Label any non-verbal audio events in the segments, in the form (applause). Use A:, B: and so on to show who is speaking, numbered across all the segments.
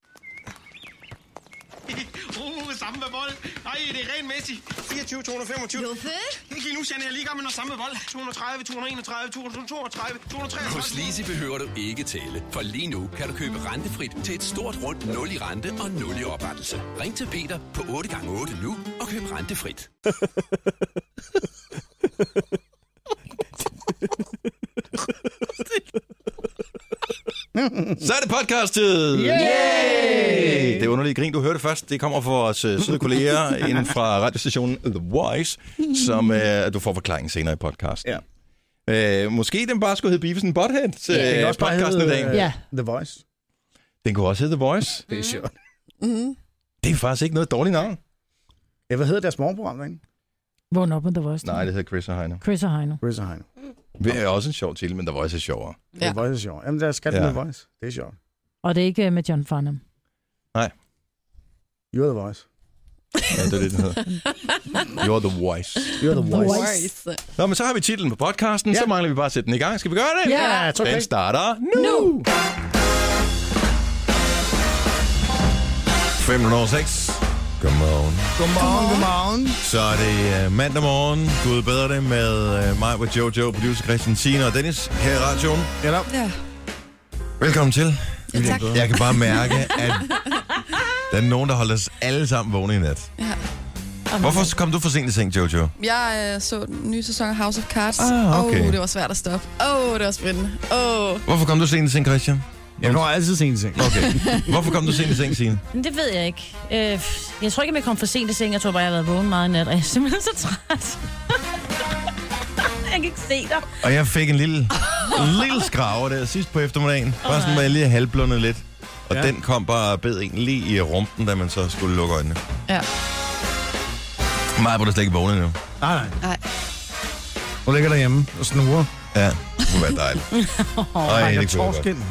A: (laughs) det Uh, samme med vold. Nej, det er renmæssigt. 24, 225.
B: Luffe?
A: Lige nu, Janne, jeg er lige i gang med noget samme med vold. 230, 231, 232, 233.
C: Hos Lise behøver du ikke tale, for lige nu kan du købe rentefrit til et stort rundt 0 i rente og 0 i oprettelse. Ring til Peter på 8x8 nu og køb rentefrit.
D: Så er det podcast-tid! Yay! Det underlige grin, du hørte først, det kommer fra vores øh, søde kolleger inden fra radiostationen The Voice, som øh, du får forklaring senere i podcasten.
E: Ja.
D: Øh, måske den bare skulle hedde Beavis and Butthead øh, ja, podcasten i dag.
E: øh,
B: Ja.
E: The Voice.
D: Den kunne også hedde The Voice.
E: Det er sjovt.
D: Det er faktisk ikke noget dårligt navn.
E: Ja, hvad hedder deres morgenprogram derinde?
F: Vågn op med The Voice.
D: Nej, det hedder Chris og Heino.
F: Chris og Heino.
E: Chris og Heino.
D: Det er også en sjov titel, men The Voice er sjovere.
E: The Voice er sjovt. Jamen, der skal den
D: Ja.
E: The Voice. Det er sjovt.
F: Og det er ikke øh, med John Farnham.
E: You're The Voice.
D: Ja, det er det, den hedder. You're The Voice.
E: You're The Voice.
B: Voice.
D: Nå, men så har vi titlen på podcasten, ja.
E: Ja.
D: så mangler vi bare at sætte den i gang. Skal vi gøre det?
E: Ja,
B: Ja.
E: tak.
D: Den starter nu.
B: Nu.
G: 506. Godmorgen.
E: Godmorgen, godmorgen.
G: Så er det øh, mandag morgen. Gud bedre det med øh, mig, med Jojo, producer Christian Sine og Dennis her i radioen.
E: Eller,
B: Ja.
G: Velkommen til.
B: ja, tak.
G: Jeg kan bare mærke, at der er nogen, der holder os alle sammen vågne i nat.
H: Ja.
G: Hvorfor kom du for sent i seng, Jojo?
H: Jeg øh, så den nye sæson af House of Cards.
G: Ah, okay.
H: Åh, det var svært at stoppe. Åh, oh, det var spændende. Åh. Oh.
G: Hvorfor kom du sent i seng, Christian?
E: jeg når altid sent i seng.
G: Okay. (laughs) Hvorfor kom du sent i seng, Signe?
F: Men det ved jeg ikke. Øh, jeg tror ikke, at jeg kom for sent i seng. Jeg tror bare, jeg har været vågen meget i nat, og jeg er simpelthen så træt. (laughs) jeg kan ikke se dig.
G: Og jeg fik en lille, lille skrave der sidst på eftermiddagen. Bare sådan, var jeg lige halvblundet lidt. Og
E: Ja.
G: ja. den kom bare og bed en lige i rumpen, da man så skulle lukke øjnene.
H: Ja.
G: Maja, du slet ikke vågnet nu.
E: Nej, nej.
H: Nej.
E: Hun ligger derhjemme og snuger.
G: Ja, det kunne være dejligt.
E: Og
G: Ej,
E: rækker
G: det kunne jeg godt.
E: torsken.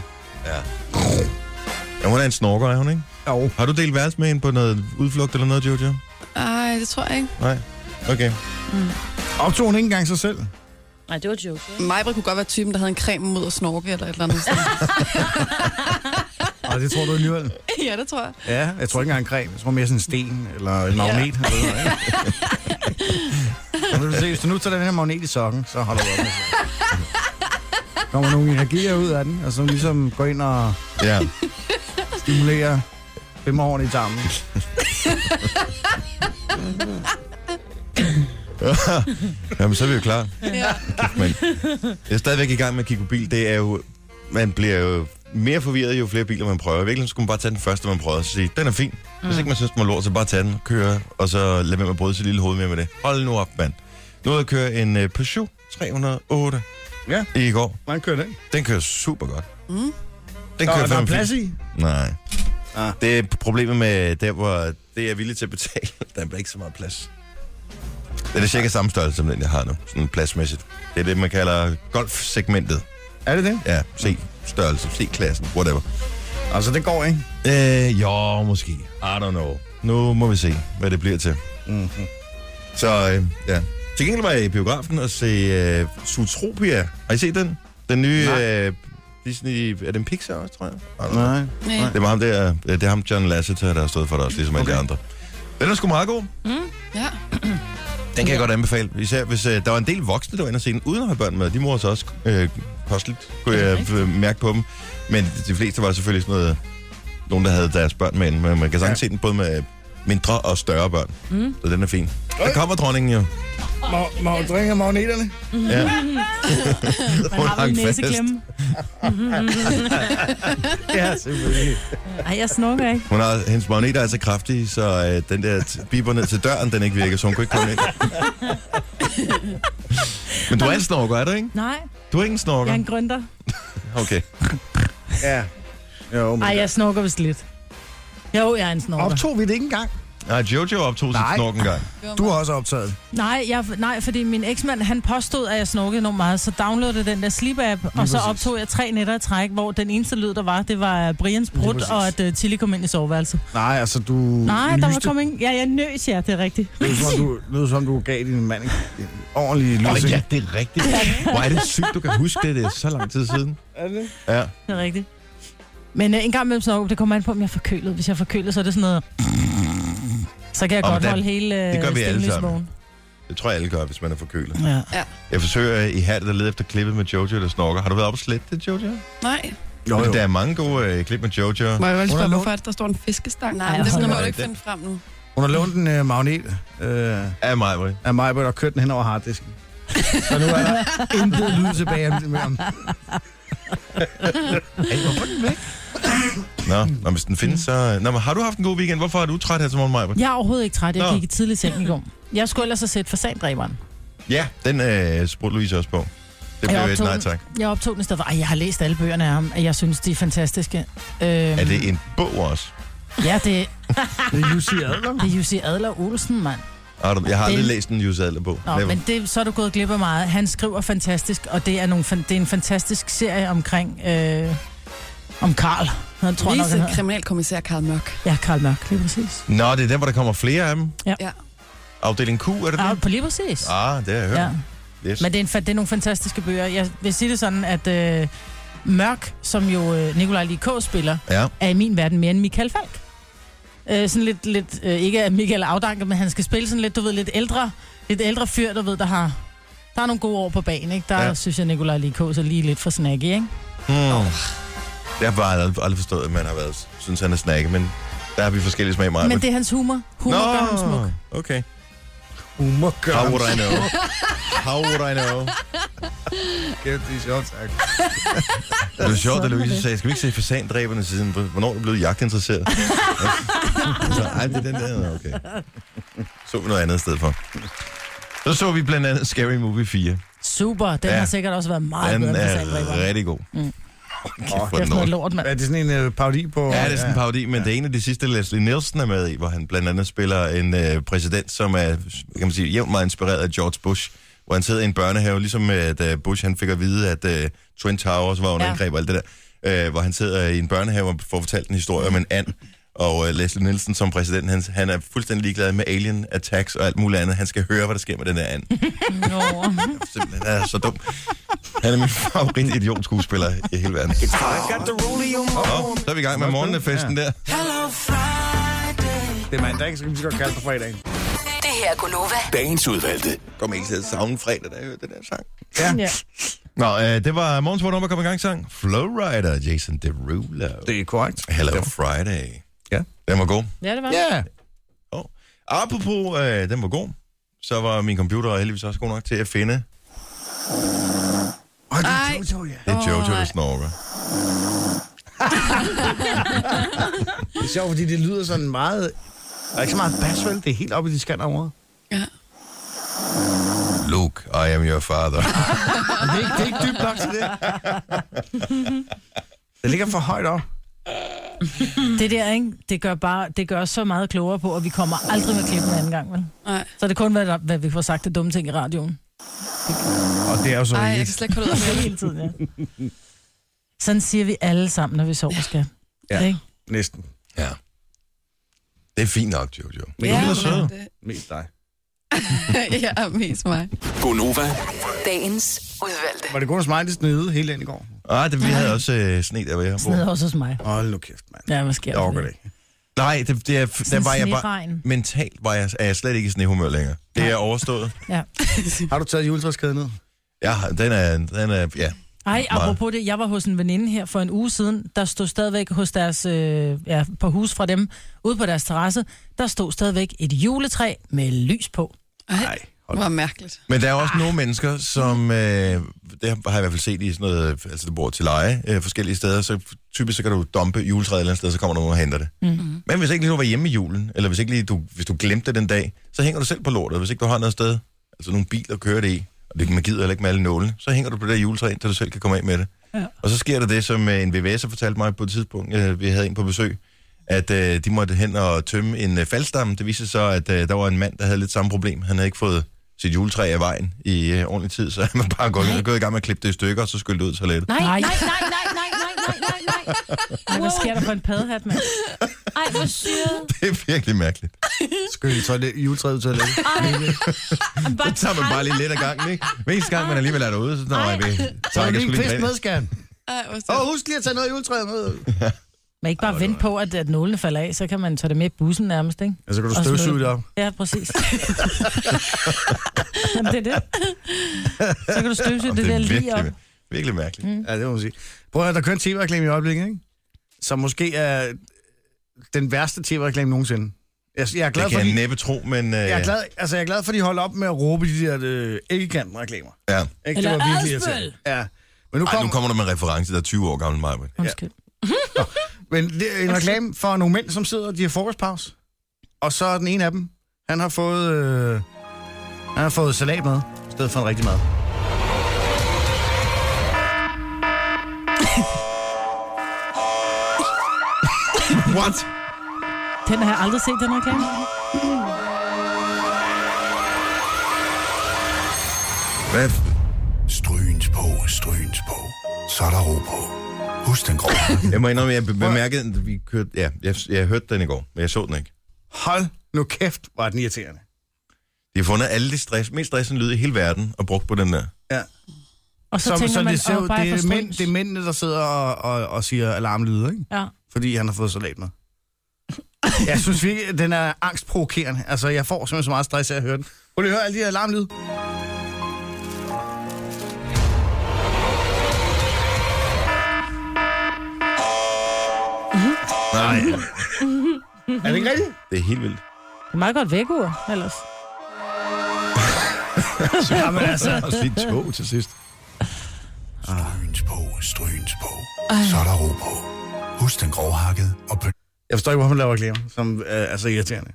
G: Ja, hun er en snorker, er hun, ikke?
E: Jo.
G: Har du delt værelse med hende på noget udflugt eller noget, Jojo?
H: Ej, det tror jeg ikke.
G: Nej? Okay.
E: Optog hun ikke engang sig selv?
F: Nej, det var joke.
H: Majbrit kunne godt være typen, der havde en creme mod at snorke eller et eller andet.
F: (laughs)
E: Og det tror du alligevel?
H: ja, det tror jeg.
E: Ja, jeg tror ikke engang en creme. Jeg tror mere sådan en sten eller en magnet. Ja. (laughs) Eller noget, ikke? Men du se, hvis du nu tager den her magnet i sokken, så holder du op med det. kommer nogle energier ud af den, og som ligesom går ind og
G: Ja.
E: stimulerer femmerhårene i tarmen.
G: Jamen, så er vi jo klar.
H: Ja.
G: Men jeg er stadigvæk i gang med at kigge på bil. Det er jo... Man bliver jo mere forvirret, jo flere biler man prøver. I virkeligheden skulle man bare tage den første, man prøvede, og så sige, den er fin. Hvis ikke man synes, den var lort, så bare tage den, køre, og så lad være med at bryde sit lille hoved mere med det. Hold nu op, mand. Nu er jeg køre en øh, Peugeot 308
E: Ja.
G: i går.
E: Man kører den.
G: Den kører super godt. Mm. Den
E: Nå,
G: kører
E: er der
G: fandme fint.
E: plads i?
G: Nej.
E: Ah.
G: Ah. Det er problemet med der, hvor det er jeg villig til at betale. (laughs) Der bliver ikke så meget plads. Det er cirka samme størrelse som den, jeg har nu, sådan pladsmæssigt. Det er det, man kalder golfsegmentet.
E: Er det det?
G: Ja, C-størrelse, C-klassen, whatever.
E: Altså, det går, ikke?
G: Øh, jo, måske. I don't know. Nu må vi se, hvad det bliver til. Mm-hmm. Så øh, ja. Til gengæld var jeg i biografen og se øh, Zootropia. Har I set den? Den nye øh, Disney... Er den Pixar også, tror jeg? I don't know.
E: Nej.
H: Nej.
G: Det var ham der, øh, det er ham John Lasseter, der har stået for det også, ligesom okay. alle de andre. Den er sgu meget god.
H: Ja.
G: Den kan jeg godt anbefale. Især hvis øh, der var en del voksne, der var inde og se den, uden at have børn med. De må altså også øh, kosteligt, kunne jeg øh, mærke på dem. Men de fleste var selvfølgelig sådan noget, nogen, der havde deres børn med inde. Men man kan sagtens ja. se den både med mindre og større børn. Mm. Så den er fin. Der kommer dronningen (laughs) jo.
E: Må, må hun drikke magneterne?
G: Ja.
F: Man
G: Hun
F: har vel
G: hang
F: en
G: fast.
F: næseklemme.
E: Ja, selvfølgelig.
F: Nej, jeg snukker ikke.
G: Hun har, hendes magneter er så kraftige, så øh, den der t- biber ned til døren, den ikke virker, så hun kunne ikke komme (laughs) ind. Men du er en snorker, er du ikke?
F: Nej,
G: Du er ikke
F: jeg
G: en
F: er
G: snorker?
F: en grønter.
G: Okay.
E: Ja. Jo, men...
F: Nej, jeg snukker vist lidt. Jo, jeg er en snorker.
E: Optog vi det ikke engang?
G: Nej, Jojo optog sit
E: Nej.
G: snorken gang.
E: Du har også optaget.
F: Nej, jeg, nej, fordi min eksmand, han påstod, at jeg snorkede enormt meget, så downloadede den der sleep-app, og så optog jeg tre nætter i træk, hvor den eneste lyd, der var, det var Brians brud,
E: præcis.
F: og at uh, Tilly kom ind i soveværelset.
E: Nej, altså, du...
F: Nej, der var
E: lyste.
F: kommet ingen... Ja, jeg nøs, ja, det er rigtigt.
E: Det lyder som, du, det lyder som, du gav din mand en en ordentlig
G: Åh,
E: løsning.
G: ja, det er rigtigt. Hvor er det sygt, du kan huske det. Det er så lang tid siden.
E: Er det?
G: Ja.
F: Det er rigtigt. Men øh, en gang imellem snorker, det kommer an på, om jeg er forkølet. Hvis jeg er forkølet, så er det sådan noget... Så kan jeg
G: Om
F: godt
G: den-
F: holde hele øh,
G: det gør vi alle sammen.
F: stemningsvognen.
G: Det tror jeg, alle gør, hvis man er forkølet.
F: Ja.
G: Jeg forsøger i hærdet at lede efter klippet med Jojo, der snorker. Har du været oppe og slet det, Jojo?
H: Nej.
E: Jo,
G: Fordi
E: jo.
G: Der er mange gode øh, klip med Jojo.
H: Må jeg vel spørge,
E: Underlund?
H: hvorfor er det, der står en fiskestang?
F: Nej,
H: Nej, det
F: hold
H: må
F: da
H: du ikke
G: op.
H: finde frem nu.
E: Hun har lånt en øh, magnet øh,
G: Af mig, Marie.
E: af mig, og kørt den hen over harddisken. Så nu er der
G: (laughs)
E: intet lyd tilbage om om-
G: Ej, hvorfor er den væk? Nå, nå, hvis den findes, så... Nå, men har du haft en god weekend? Hvorfor er du træt her til morgen, Maja?
F: Jeg er overhovedet ikke træt. Jeg
G: Nå.
F: gik i tidlig seng i går. Jeg skulle ellers have set fasandræberen.
G: Ja, den øh, spurgte Louise også på. Det blev
F: Jeg
G: et
F: optog
G: nej
F: den.
G: tak.
F: Jeg optog den i stedet for, ej, jeg har læst alle bøgerne af ham, og jeg synes, de er fantastiske. Øhm,
G: Er det en bog også?
F: Ja, det,
E: Det er Jussi Adler.
F: det er Jussi Adler Olsen, mand.
G: Har du- Jeg har aldrig
F: Den-
G: læst en Jussi Adler bog.
F: Nå, men det, så er du gået glip af meget. Han skriver fantastisk, og det er, nogle, fan- det er en fantastisk serie omkring... Øh, om Karl. Han tror jeg nok, han
H: Vise
F: hedder.
H: kriminalkommissær Karl Mørk.
F: Ja, Karl Mørk, lige præcis.
G: Nå, det er der, hvor der kommer flere af dem.
H: Ja.
G: Afdeling Q, er det
F: Ja,
G: det?
F: på lige præcis.
G: Ah, det har jeg hørt.
F: Ja.
G: Yes.
F: Men det er, en, fa- det er nogle fantastiske bøger. Jeg vil sige det sådan, at øh, Mørk, som jo øh, Nikolaj Lik spiller,
G: Ja.
F: er i min verden mere end Michael Falk. Øh, sådan lidt, lidt øh, ikke af Michael Afdanker, men han skal spille sådan lidt, du ved, lidt ældre, lidt ældre fyr, du ved, der har... Der er nogle gode år på banen, ikke? Der
G: Ja.
F: ja. synes jeg, Nikolaj Likås er lige lidt for snacky, ikke?
G: Mm. Jeg har bare aldrig, aldrig forstået, at man har været, synes han er snakke, men der har vi forskellige smag meget.
F: Men det er hans humor. Humor Nå. gør ham smuk.
G: okay.
E: Humor gør
G: How
E: ham
F: (laughs)
G: would I know? How would I know?
E: Kæft, det er sjovt, tak.
G: Det var sjovt, da
F: Sådan er
G: Louise
F: det.
G: sagde, skal vi ikke se fasandræberne siden? Hvornår er du
F: (laughs)
G: blevet jagtinteresseret? så, ej, det er den der. Nå, Okay. Så vi noget andet i stedet for. Så så vi blandt andet Scary Movie 4.
F: Super. Den
G: Ja.
F: ja. har sikkert også været meget
G: Den
F: bedre end
G: er
F: Cassandra. Det
G: rigtig god.
F: Mm.
G: Kæft, hvor
F: er
G: er den
F: sådan noget
G: dårlig.
F: lort, mand.
E: Er det sådan en øh, parodi på...
G: Ja, det er sådan en parodi, men ja. det er en af de sidste, Leslie Nielsen er med i, hvor han blandt andet spiller en øh, præsident, som er, kan man sige, jævnt meget inspireret af George Bush, hvor han sidder i en børnehave, ligesom øh, da Bush han fik at vide, at øh, Twin Towers var under
F: Ja.
G: angreb og alt det der, øh, hvor han sidder i en børnehave og får fortalt en historie om en and, og øh, Leslie Nielsen som præsident, han, han er fuldstændig ligeglad med alien attacks og alt muligt andet. Han skal høre, hvad der sker med den der and.
F: Nå.
G: Simpelthen, han er så dum. Han er min (laughs) favorit idiot-skuespiller i hele verden. Nå, så er vi i gang med morgenfesten der.
E: Det er mandag, ikke? så kan vi så godt kalde det på fredagen.
B: Det her er Gunova.
C: Dagens udvalgte.
G: kommer helt til at savne fredag, da jeg hørte den der sang.
F: Ja.
G: Nå, øh, det var morgens hvor nummer kom i gang sang. Flowrider, Jason Derulo.
E: Det er korrekt.
G: Hello Friday.
E: Ja.
G: Den var god.
F: ja, det var
E: Ja.
G: Oh. Apropos, øh, den var god, så var min computer heldigvis også god nok til at finde.
E: Åh, det er
H: Ej.
E: Jojo, ja.
G: Det er
H: Åh,
G: Jojo, der
H: nej.
G: snorker.
E: Det er sjovt, fordi det lyder sådan meget... Der er ikke så meget bass, vel? Det er helt oppe i de skanner over.
H: Ja.
G: Luke, I am your father.
E: Men det er, ikke, det er ikke dybt nok til (laughs) det. Det ligger for højt op.
F: Det der, ikke? Det gør, bare, det gør os så meget klogere på, at vi kommer aldrig med klippen en anden gang, vel?
H: Nej.
F: Så er det kun, hvad, der- hvad vi får sagt af dumme ting i radioen.
E: Og det er jo så
H: Ej, jeg
E: ikke.
H: kan slet ikke holde ud af det.
F: Hele tiden, ja. Sådan siger vi alle sammen, når vi sover skal.
E: Ja.
F: Ikke?
E: Næsten.
G: ja. Det er fint nok, Jojo.
H: Ja,
G: lyder sød.
H: men det-
E: Mest dig.
H: (laughs) ja, mest mig.
C: Gonova.
B: Dagens udvalgte.
E: Var det godt hos mig, det snede hele ind i går?
G: Ah, det, vi havde også øh, sne, der hvor jeg
F: Sådan
G: bor.
F: noget også hos mig.
E: Hold nu kæft, mand.
F: Ja, hvad sker
E: Jeg orker det ikke.
G: Nej, det, det er, der var jeg bare...
F: sneregn.
G: Mentalt var jeg, er jeg slet ikke i snehumør længere. Det er overstået.
F: Ja.
E: Har du taget juletræskæden ned?
G: Ja, den er, den er, ja.
F: Ej, apropos det, jeg var hos en veninde her for en uge siden, der stod stadigvæk hos deres, øh, ja, på hus fra dem, ude på deres terrasse, der stod stadigvæk et juletræ med lys på.
H: Ej, det var mærkeligt.
G: Men der er også nogle mennesker, som, øh, det har jeg i hvert fald set i sådan noget, øh, altså det bor til leje øh, forskellige steder, så typisk så kan du dumpe juletræet et eller andet sted, så kommer der nogen og henter det. Mm-hmm. Men hvis ikke lige du var hjemme i julen, eller hvis ikke lige du, hvis du glemte det den dag, så hænger du selv på lortet. Hvis ikke du har noget sted, altså nogle biler kører det i, og det, man gider heller ikke med alle nålene, så hænger du på det der juletræ, indtil du selv kan komme af med det. Ja. Og så sker der det, som øh, en VVS'er fortalte mig på et tidspunkt, øh, vi havde en på besøg, at øh, de måtte hen og tømme en øh, faldstamme. Det viste sig så, at øh, der var en mand, der havde lidt samme problem. Han havde ikke fået sit juletræ af vejen i øh, ordentlig tid, så (laughs) han var bare gået, gået i gang med at klippe det i stykker, og så skyllede det ud så lidt.
I: Nej,
F: Nej.
I: nej, nej, nej, nej, nej, nej, nej, nej.
F: Ej, hvad sker der for en paddehat, mand?
I: Ej, hvor syret.
G: (laughs) Det er virkelig mærkeligt.
E: Skal vi tage juletræet til at (laughs) lægge?
I: Bare
G: Så tager man bare lige lidt af gangen, ikke? Hver eneste gang, man alligevel er derude, så når jeg ved. Så
E: Så
G: jeg
E: er
G: kan
E: det
G: sgu
E: en
G: lige
E: (laughs) kvist
G: med.
E: med, skal han.
H: Ej, hvor
E: Og
H: sødt.
E: husk lige at tage noget af juletræet med.
F: Man ikke bare
E: Ej,
F: Ej,
E: hvor er det
F: vente på, at, at nålene falder af, så kan man tage det med i bussen nærmest, ikke?
E: Altså, kan du
F: Og smide
E: støvsuge det
F: den.
E: op?
F: Ja, præcis. Jamen, det
E: (laughs)
F: er det. Så kan du støvsuge
G: Jamen,
F: det,
G: det
F: der
G: er
F: lige op.
G: virkelig, virkelig mærkeligt. Mm.
E: Ja, det må man sige. Prøv at høre, der kører en tv-reklame i øjeblikket, ikke? Som måske er den værste tv-reklame nogensinde. Jeg, jeg er glad
G: Det kan
E: for, at
G: jeg
E: de,
G: næppe tro, men... Øh,
E: jeg er glad, altså, jeg er glad for, at de holder op med at råbe de der øh, æggekanten-reklamer.
G: Ja.
E: Ikke?
F: Eller
E: virkelig
F: Adspøl!
E: irriterende. Ja. Men nu,
G: Ej, nu
E: kom,
G: kommer du med en reference, der er 20 år gammel mig.
F: Undskyld.
E: Men det er en reklame for nogle mænd, som sidder, de har frokostpause. Og så er den ene af dem, han har fået, øh, han har fået salat med, i stedet for en rigtig mad.
G: What?
F: Den har jeg aldrig set, den reklame.
G: Hvad?
J: Strygens på, strygens på. Så er der ro på. Husk den grå.
G: Jeg må indrømme, jeg be- bemærkede, at vi kørte... Ja, jeg, jeg hørte den i går, men jeg så den ikke.
E: Hold nu kæft, var den irriterende.
G: De har fundet alle de stress, mest stressende lyde i hele verden og brugt på den der.
E: Ja.
F: Og så, så tænker man,
E: det,
F: åh,
E: ud-
F: bare
E: det,
F: jeg
E: er
F: får
E: mænd, det er mændene, der sidder og, og, og siger alarmlyde, ikke?
F: Ja.
E: fordi han har fået salat
F: (laughs)
E: med. Jeg synes virkelig, at den er angstprovokerende. Altså, jeg får simpelthen så meget stress af at høre den. Prøv lige at høre alle de her alarmlyde.
G: Nej,
E: Er det ikke rigtigt?
G: det er helt vildt.
F: Det er meget godt vækord, ellers.
E: Jamen altså,
G: Og så et tog til sidst.
J: Strygens på, strygens på. Så er der ro på. Husk den grovhakket og bøn.
E: jeg forstår ikke, hvorfor man laver reklamer, som øh, er så irriterende.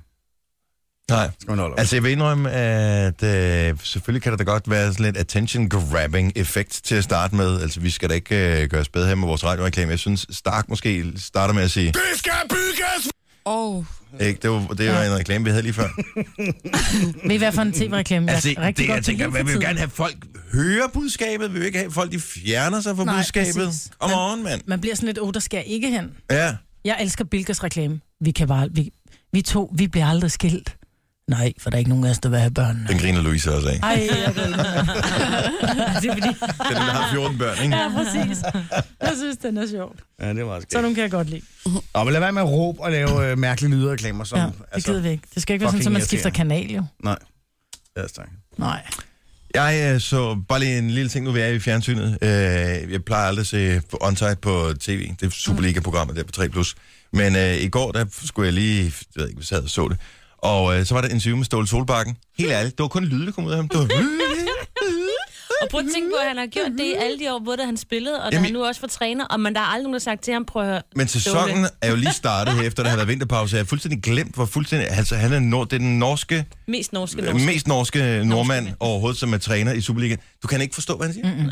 G: Nej.
E: Skal man holde op.
G: Altså, jeg vil indrømme, at øh, selvfølgelig kan der da godt være sådan lidt attention-grabbing-effekt til at starte med. Altså, vi skal da ikke øh, gøre os bedre her med vores radioreklame. Jeg synes, Stark måske starter med at sige...
J: Det skal bygges!
H: Åh, oh,
G: Ikke? Det var, det var en reklame, vi havde lige før.
F: Ved I, hvad for en tv-reklame, jeg
G: Altså,
F: rigtig
G: det,
F: godt
G: jeg
F: til
G: tænker,
F: lige
G: man
F: for
G: vil jo
F: tiden?
G: gerne have folk hører budskabet. Vi vil jo ikke have at folk, de fjerner sig fra
H: Nej,
G: budskabet.
H: præcis.
G: Om morgenen, mand.
F: Man bliver sådan lidt, oh, der skal jeg ikke hen.
G: Ja.
F: Jeg elsker Bilkers reklame. Vi kan bare, vi, vi to, vi bliver aldrig skilt. Nej, for der er ikke nogen af os, der vil have børnene.
G: Den griner Louise også af.
F: Ej, jeg griner. (laughs) det er fordi,
G: Det er den, der har 14 børn, ikke?
F: ja, præcis. Jeg synes, den er sjov.
E: Ja, det var
F: Så nogle kan jeg godt lide.
E: Nå, men lad være med at råbe og lave øh, mærkelige lydreklamer. Som,
F: Ja, det gider vi ikke. Det skal ikke være sådan, at
E: altså,
F: man
E: fucking
F: skifter kanal, jo.
E: Nej. Ja, tak.
F: Nej.
G: Jeg øh, så bare lige en lille ting, nu vi er i fjernsynet. Øh, jeg plejer aldrig at se on på tv. Det er Superliga-programmet der på 3+. Men øh, i går, der skulle jeg lige... Jeg ved ikke, hvis jeg havde så det. Og øh, så var der et interview med Ståle Solbakken. Helt ærligt, det var kun lyde, der kom ud af ham. Det var...
I: Og prøv at tænke på, at han har gjort det i alle de år, både han spillede, og da
G: Jamen-
I: han nu også var træner, og man der er aldrig nogen, der har sagt til ham, prøv at høre,
G: Men sæsonen er jo lige startet her, efter der har været vinterpause. Jeg har fuldstændig glemt, hvor fuldstændig... Altså, han er, nord, det er den norske,
I: mest norske
G: norske.
I: norske.
G: mest norske nordmand
I: mand.
G: overhovedet, som er træner i Superligaen. Du kan ikke forstå, hvad han siger. Mm-hmm.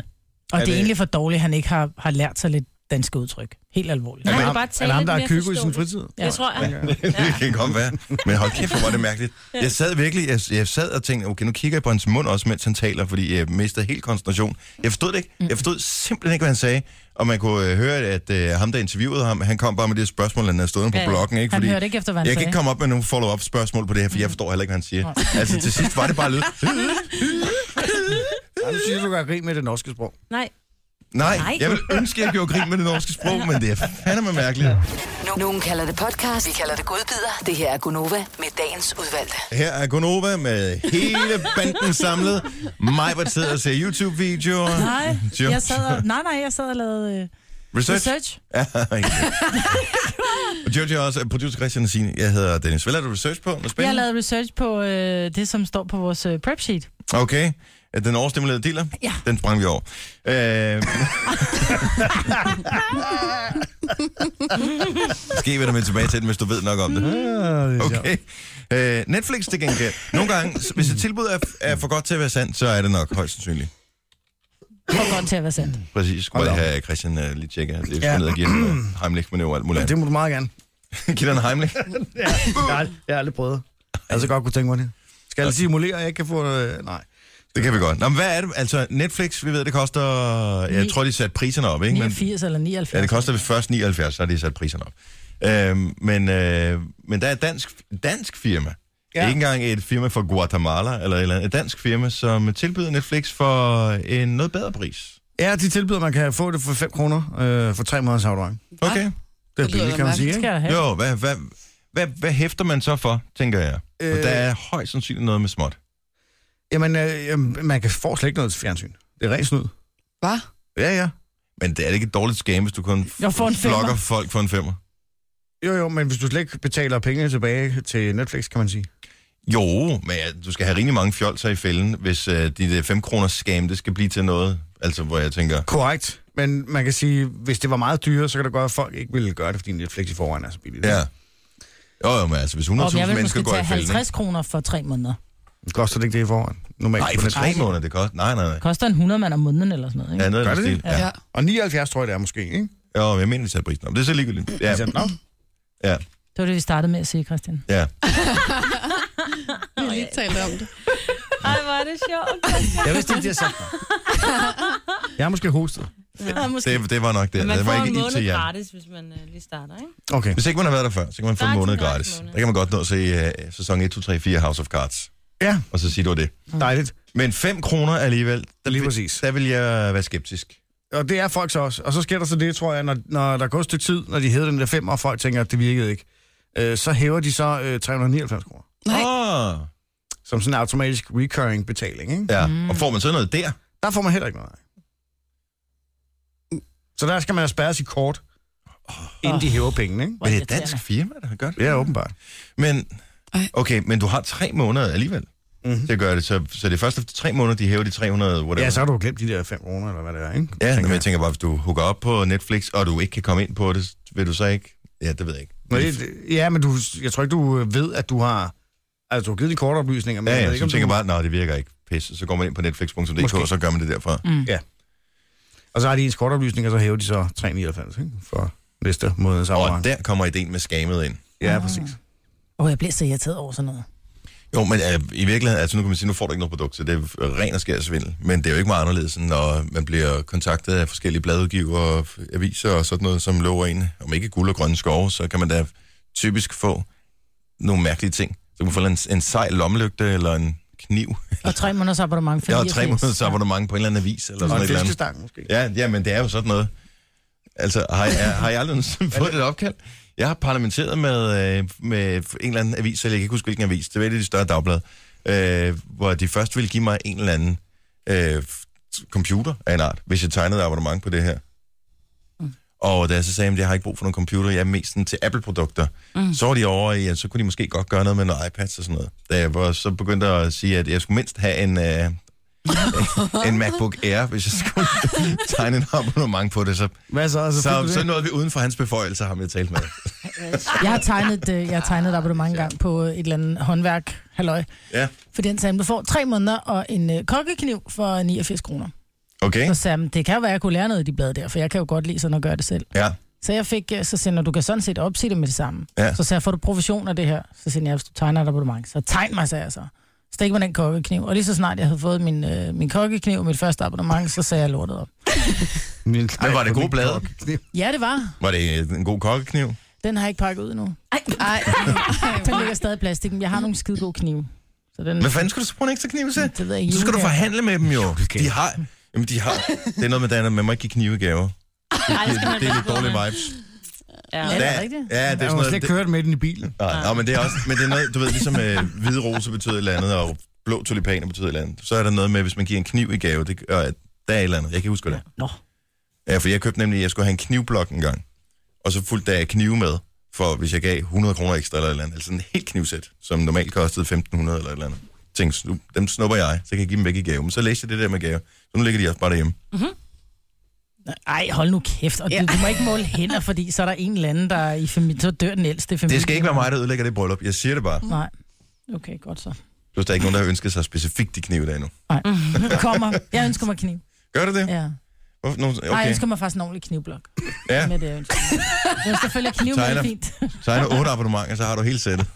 F: Og det
G: det-
F: er egentlig for dårligt, at han ikke har, har lært sig lidt danske udtryk. Helt alvorligt.
I: Han
E: Er
I: kan
E: det
I: bare
E: ham, er
I: tale
E: det ham,
I: lidt
E: der er
I: mere
E: køgo i sin
I: forståeligt.
E: fritid?
I: Jeg tror, han,
G: det kan godt være. Men hold kæft, hvor var det mærkeligt. Jeg sad virkelig, jeg, jeg sad og tænkte, okay, nu kigger jeg på hans mund også, mens han taler, fordi jeg mistede helt koncentration. Jeg forstod det ikke. Jeg forstod simpelthen ikke, hvad han sagde. Og man kunne øh, høre, at øh, ham, der interviewede ham, han kom bare med det spørgsmål, han havde stået på
I: Ja.
G: bloggen. Ikke?
F: Øh, Han
G: Fordi
F: hørte ikke efter, hvad han
G: jeg kan
F: sagde.
G: ikke komme op med nogle follow-up spørgsmål på det her, for jeg forstår heller ikke, hvad han siger. Altså til sidst var det bare lidt...
E: Ja, nu synes du, du grin med det norske sprog.
I: nej,
G: Nej,
I: Nej.
G: jeg vil ønske, at jeg gjorde grin med det norske sprog, men det er fandme mærkeligt.
B: Nu- Nogen kalder det podcast, vi kalder det godbider. Det her er Gunova med dagens udvalgte.
G: Her er Gunova med hele banden samlet. Mig var sidder og ser YouTube-videoer.
F: Nej,
G: (laughs) Jo.
F: jeg sad og, nej, nej, jeg sad og lavede øh,
G: Research.
F: research.
G: Ja, ikke.
E: (laughs)
G: Og Jojo er også øh, producer Christian og Signe. Jeg hedder Dennis. Hvad lader du research på? Noget
F: Jeg
G: spændende?
F: lavede research på øh, det, som står på vores øh, prep sheet.
G: Okay. Den overstimulerede dealer?
F: Ja.
G: Den sprang vi over.
E: (laughs)
G: Øh... Måske vender vi tilbage til den, hvis du ved nok om det. Okay. Øh, Netflix til gengæld. Nogle gange, s- hvis et tilbud er, er for godt til at være sandt, så er det nok højst sandsynligt.
F: For godt til at være sandt.
G: Præcis. Skulle jeg
E: Hold da
G: have Christian uh, lige tjekke. at Det er
E: Ja.
G: ja. ned og give en uh, Heimlich-manøvre og alt muligt
E: Det må du meget gerne.
G: andet. (laughs) Giv dig en Heimlich.
E: Jeg har, jeg har aldrig prøvet. det. Jeg har så godt kunne tænke mig det. Skal jeg simulere, at jeg ikke kan få... Øh, nej.
G: Det kan vi godt. Nå, men hvad er det? Altså, Netflix, vi ved, det koster... Jeg tror, de satte priserne op, ikke? Men,
F: 89 eller 79.
G: ja, det koster først 79, så har de sat priserne op. Øhm, men, øh, men der er et dansk, dansk firma. Ja.
E: Ja.
G: Ikke engang et firma fra Guatemala, eller et, eller andet. et dansk firma, som tilbyder Netflix for en noget bedre pris.
E: Ja, de tilbyder, at man kan få det for 5 kroner øh, for 3 måneders afdrag.
G: Okay.
E: Det Det er billigt, kan man sige,
F: Skal
E: ikke?
F: jeg da have.
G: Jo, hvad, hvad, hvad, hvad hæfter man så for, tænker jeg? Øh...
E: Øh.
G: For der er højst sandsynligt noget med småt.
E: Jamen, øh, jamen, man kan få slet ikke noget til fjernsyn. Det er rent snyd.
H: Hvad?
E: Ja, ja.
G: Men det er det ikke et dårligt skam, hvis du kun f-
F: Jeg får en femmer.
G: flokker folk for en femmer?
E: Jo, jo, men hvis du slet ikke betaler pengene tilbage til Netflix, kan man sige.
G: Jo, men ja, du skal have rimelig mange fjolser i fælden, hvis øh, dit 5 kroners skam, det skal blive til noget. Altså, hvor jeg tænker,
E: Korrekt. Men man kan sige, hvis det var meget dyrere, så kan det godt, at folk ikke ville gøre det, fordi Netflix i forvejen er så billigt.
G: ja. Jo, jo, men altså, hvis
F: Og jeg
G: 100.000
F: vil
G: mennesker
F: måske
G: går i
F: tage
G: fælden... ikke?
F: 50 kroner for tre måneder.
E: Det koster det ikke det i forvejen. Normalt.
G: Nej,
E: på
G: for
E: Netflix.
G: tre måneder, det koster. Nej, nej, nej.
F: Koster en 100 mand om måneden eller sådan noget, ikke?
G: Ja, noget i
E: Gør
G: den
E: det det?
G: stil. Ja.
H: Ja.
E: Og 79 tror jeg, det er måske, ikke?
G: Jo, men jeg mener, vi tager prisen op. Det er så ligegyldigt. Ja,
E: Altså, nå,
G: ja,
F: Det var det, vi startede med at sige, Christian.
G: ja.
H: Vi har lige talt om det.
I: Ej, hvor er det sjovt.
E: jeg vidste ikke, det er sagt. (laughs) Jeg har måske hostet.
I: Ja, måske.
G: Det, det var nok det.
I: Man
G: det
I: får
G: var
I: en
G: ikke
I: måned
G: IT, ja.
I: gratis, hvis man øh, lige starter, ikke?
E: Okay.
G: Hvis ikke man har været der før, så kan man få
I: Der er
G: en måned
I: kun en
G: gratis.
I: måned.
G: Der kan man godt nå at se uh, sæson 1, 2, 3, 4 House of Cards,
E: Ja,
G: og så sige, det var det.
E: dejligt.
G: Men 5 kroner alligevel, der,
E: Lige
G: vil-
E: præcis.
G: der vil jeg være skeptisk.
E: Og det er folk så også. Og så sker der så det, tror jeg, når, når der går et stykke tid, når de hæver den der fem, og folk tænker, at det virkede ikke, øh, så hæver de så øh, 399 kroner.
H: Nej.
G: Ah,
E: Som sådan en automatisk recurring betaling, ikke?
G: ja. Og får man så noget der?
E: Der får man heller ikke noget. Så der skal man have spærret sit kort, inden de hæver pengene, ikke?
F: Hvor
G: Men det er et
F: irriterende.
G: dansk firma, der har gjort det.
E: Ja, åbenbart.
G: Men,
H: Ej.
G: okay, men du har tre måneder alligevel
E: Mhm.
G: mm-hmm. til at gøre det. Så, så det er først efter tre måneder, de hæver de 300, whatever.
E: Ja, så har du glemt de der 5 kroner, eller hvad det er,
G: Ja,
E: ikke? Tænker
G: men jeg
E: jeg.
G: tænker bare, hvis du hugger op på Netflix, og du ikke kan komme ind på det, vil du så ikke? Ja, det ved jeg ikke.
E: Nå, det, ja, men du, jeg tror ikke, du øh, ved, at du har... Altså, du har givet de korte oplysninger, men
G: Ja,
E: jeg ved
G: ja,
E: ikke,
G: så
E: om
G: tænker
E: du,
G: bare, nej, det virker ikke. Pisse. Så går man ind på netflix.dk,
E: Måske.
G: og så gør man det derfra.
F: Mm.
E: Og så har de ens korte oplysninger, og så hæver de så 399, ikke? For næste måneds
G: Og
E: abonnement.
G: der kommer ideen med skamet ind.
E: Ja, præcis.
F: Åh, oh, jeg bliver så irriteret over sådan noget.
G: Jo, men øh, i virkeligheden, altså nu kan man sige, nu får du ikke noget produkt, så det er ren og skær svindel. Men det er jo ikke meget anderledes, end når man bliver kontaktet af forskellige bladudgiver og aviser og sådan noget, som lover en, om ikke guld og grønne skove, så kan man da typisk få nogle mærkelige ting. Så kan man få en, en sej lommelygte eller en kniv.
F: Og tre måneders abonnement for
G: Jeg har
F: 89.
G: tre måneders abonnement på en eller anden avis eller
E: Og
G: sådan
E: en
G: et eller andet.
E: fiskestang, måske.
G: Ja, ja, men det er jo sådan noget. Altså, har jeg, har jeg aldrig (laughs) nogensinde fået et opkald? Jeg har parlamenteret med, øh, med en eller anden avis, eller jeg kan ikke huske, hvilken avis. Det var et af de større dagblad, øh, hvor de først ville give mig en eller anden øh, computer af en art, hvis jeg tegnede abonnement på det her. Og da jeg så sagde, at jeg har ikke brug for nogen computer, jeg er mest sådan til Apple-produkter, mm. så var de over i, at så kunne de måske godt gøre noget med noget iPads og sådan noget. Da jeg var, så begyndte jeg at sige, at jeg skulle mindst have en, øh, (laughs) en MacBook Air, hvis jeg skulle tegne en abonnement på det. Så,
E: Hvad så? Altså, fik du
G: så,
E: det?
G: så nåede vi uden for hans beføjelser, ham jeg talte med.
F: Jeg har tegnet, øh, jeg har tegnet et abonnement engang på et eller andet håndværk, halløj.
G: Ja,
F: For den sagde, han, du får tre måneder og en øh, kokkekniv for 89 kroner.
G: okay.
F: Så sagde han, det kan jo være, jeg kunne lære noget af de blade der, for jeg kan jo godt lide sådan at gøre det selv.
G: Ja.
F: Så jeg fik, øh, så sagde han, "Nå, du kan sådan set opsige det med det samme.
G: Ja.
F: Så sagde jeg, får du provision af det her? Så sagde jeg, hvis du tegner et abonnement, så tegn mig, sagde jeg så. Stik mig den kokkekniv. Og lige så snart jeg havde fået min, øh, min kokkekniv og mit første abonnement, så sagde jeg lortet op.
E: Min
G: Men var det gode blade?
F: Ja, det var.
G: Var det en god kokkekniv?
F: Den har jeg ikke pakket ud endnu.
I: Ej,
H: Ej,
F: Den ligger stadig i plastik, men jeg har nogle skide gode knive. Så den,
G: Hvad fanden skulle du så bruge en ekstra kniv til?
F: Det ved jeg ikke.
G: Så skal du
F: Julegave.
G: forhandle med dem jo. De har... Jamen, de har... Det er noget med, Dana, man må ikke give knivegaver.
I: ej, det
G: Det,
I: skal man
G: det er
I: passe
G: lidt
I: på
G: dårlige
I: med.
G: vibes.
I: Ja.
F: Ja, det er
G: Da-
F: rigtigt.
G: Ja, det er
E: Jeg
G: sådan
E: har
G: noget...
E: slet
G: Det,
E: ikke kørt med den i bilen.
G: nej, nej, men det er også... Men det er noget, du ved, ligesom øh, hvide rose betyder et eller andet, og blå tulipaner betyder et eller andet. Så er der noget med, hvis man giver en kniv i gave, det gør, at der er et eller andet. Jeg kan ikke huske, hvad det er.
F: Nå.
G: Ja, for jeg købte nemlig, at jeg skulle have en knivblok en gang. Og så fulgte der knive med, for hvis jeg gav 100 kroner ekstra eller et eller andet. Altså en helt knivsæt, som normalt kostede 1500 eller et eller andet. Jeg tænkte, nu, dem snupper jeg, så kan jeg give dem væk i gave. Men så læste jeg det der med gave. Så nu ligger de også bare derhjemme.
F: Ej, hold nu kæft. Og du, du må ikke måle hænder, fordi så er der en eller anden, der er i familien. Så dør den ældste i familien.
G: Det skal ikke være mig, der ødelægger det bryllup. Jeg siger det bare.
F: Nej. Okay, godt så.
G: Plus, der er ikke nogen, der har ønsket sig specifikt de knive der endnu.
F: Nej. Kommer. Jeg ønsker mig kniv.
G: Gør du det?
F: Ja.
G: Hvorfor- nogen-
F: Okay. Ej, jeg
G: Okay.
F: ønsker mig faktisk en ordentlig knivblok.
G: Ja,
F: Med det, jeg ønsker. mig. Jeg ønsker selvfølgelig kniv med
G: Tegner.
F: er fint. (laughs)
G: så er der otte abonnementer, så har du hele sættet.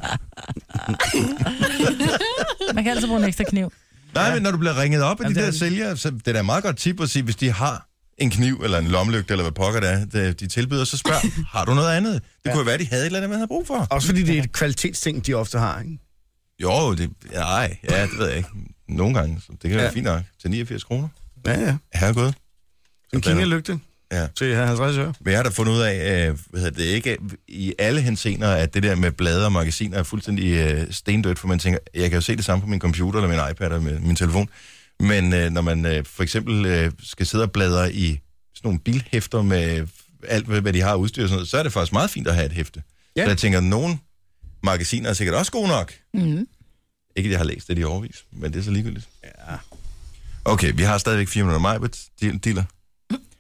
F: Man kan altid bruge en ekstra kniv.
G: Nej, men når du bliver ringet op af de
E: det
G: der
E: er det.
G: sælgere, så det er da et meget godt tip at sige, hvis de har en kniv eller en lommelygte, eller hvad pokker det er, det- de tilbyder, så
E: (laughs)
G: spørg, har du noget andet? Det kunne jo være, de havde et eller andet, man havde brug for.
E: Også fordi det er et kvalitetsting, de ofte har, ikke?
G: Jo, det, nej, ja, det ved jeg ikke. Nogle gange, så det kan være
E: Ja.
G: fint nok. Til 89 kroner.
E: Ja, ja.
G: Herregud.
E: En
G: Sådan.
E: kinalygte.
G: Ja.
E: til 50 øre.
G: Men jeg har da fundet ud af, øh, hvad hedder det ikke i alle hensener, at det der med blader og magasiner er fuldstændig øh, stendødt, for man tænker, jeg kan jo se det samme på min computer, eller min iPad, eller min, min telefon. Men øh, når man øh, for eksempel øh, skal sidde og bladre i sådan nogle bilhæfter med alt, hvad hvad de har af udstyr og sådan noget, så er det faktisk meget fint at have et hæfte. Ja.
E: Ja.
G: Så jeg tænker, nogle magasiner er sikkert også gode nok.
F: Mm.
G: Ikke, at jeg har læst det i overvis, men det er så ligegyldigt. Ja. Okay, vi har stadigvæk 400 majbet. Dealer.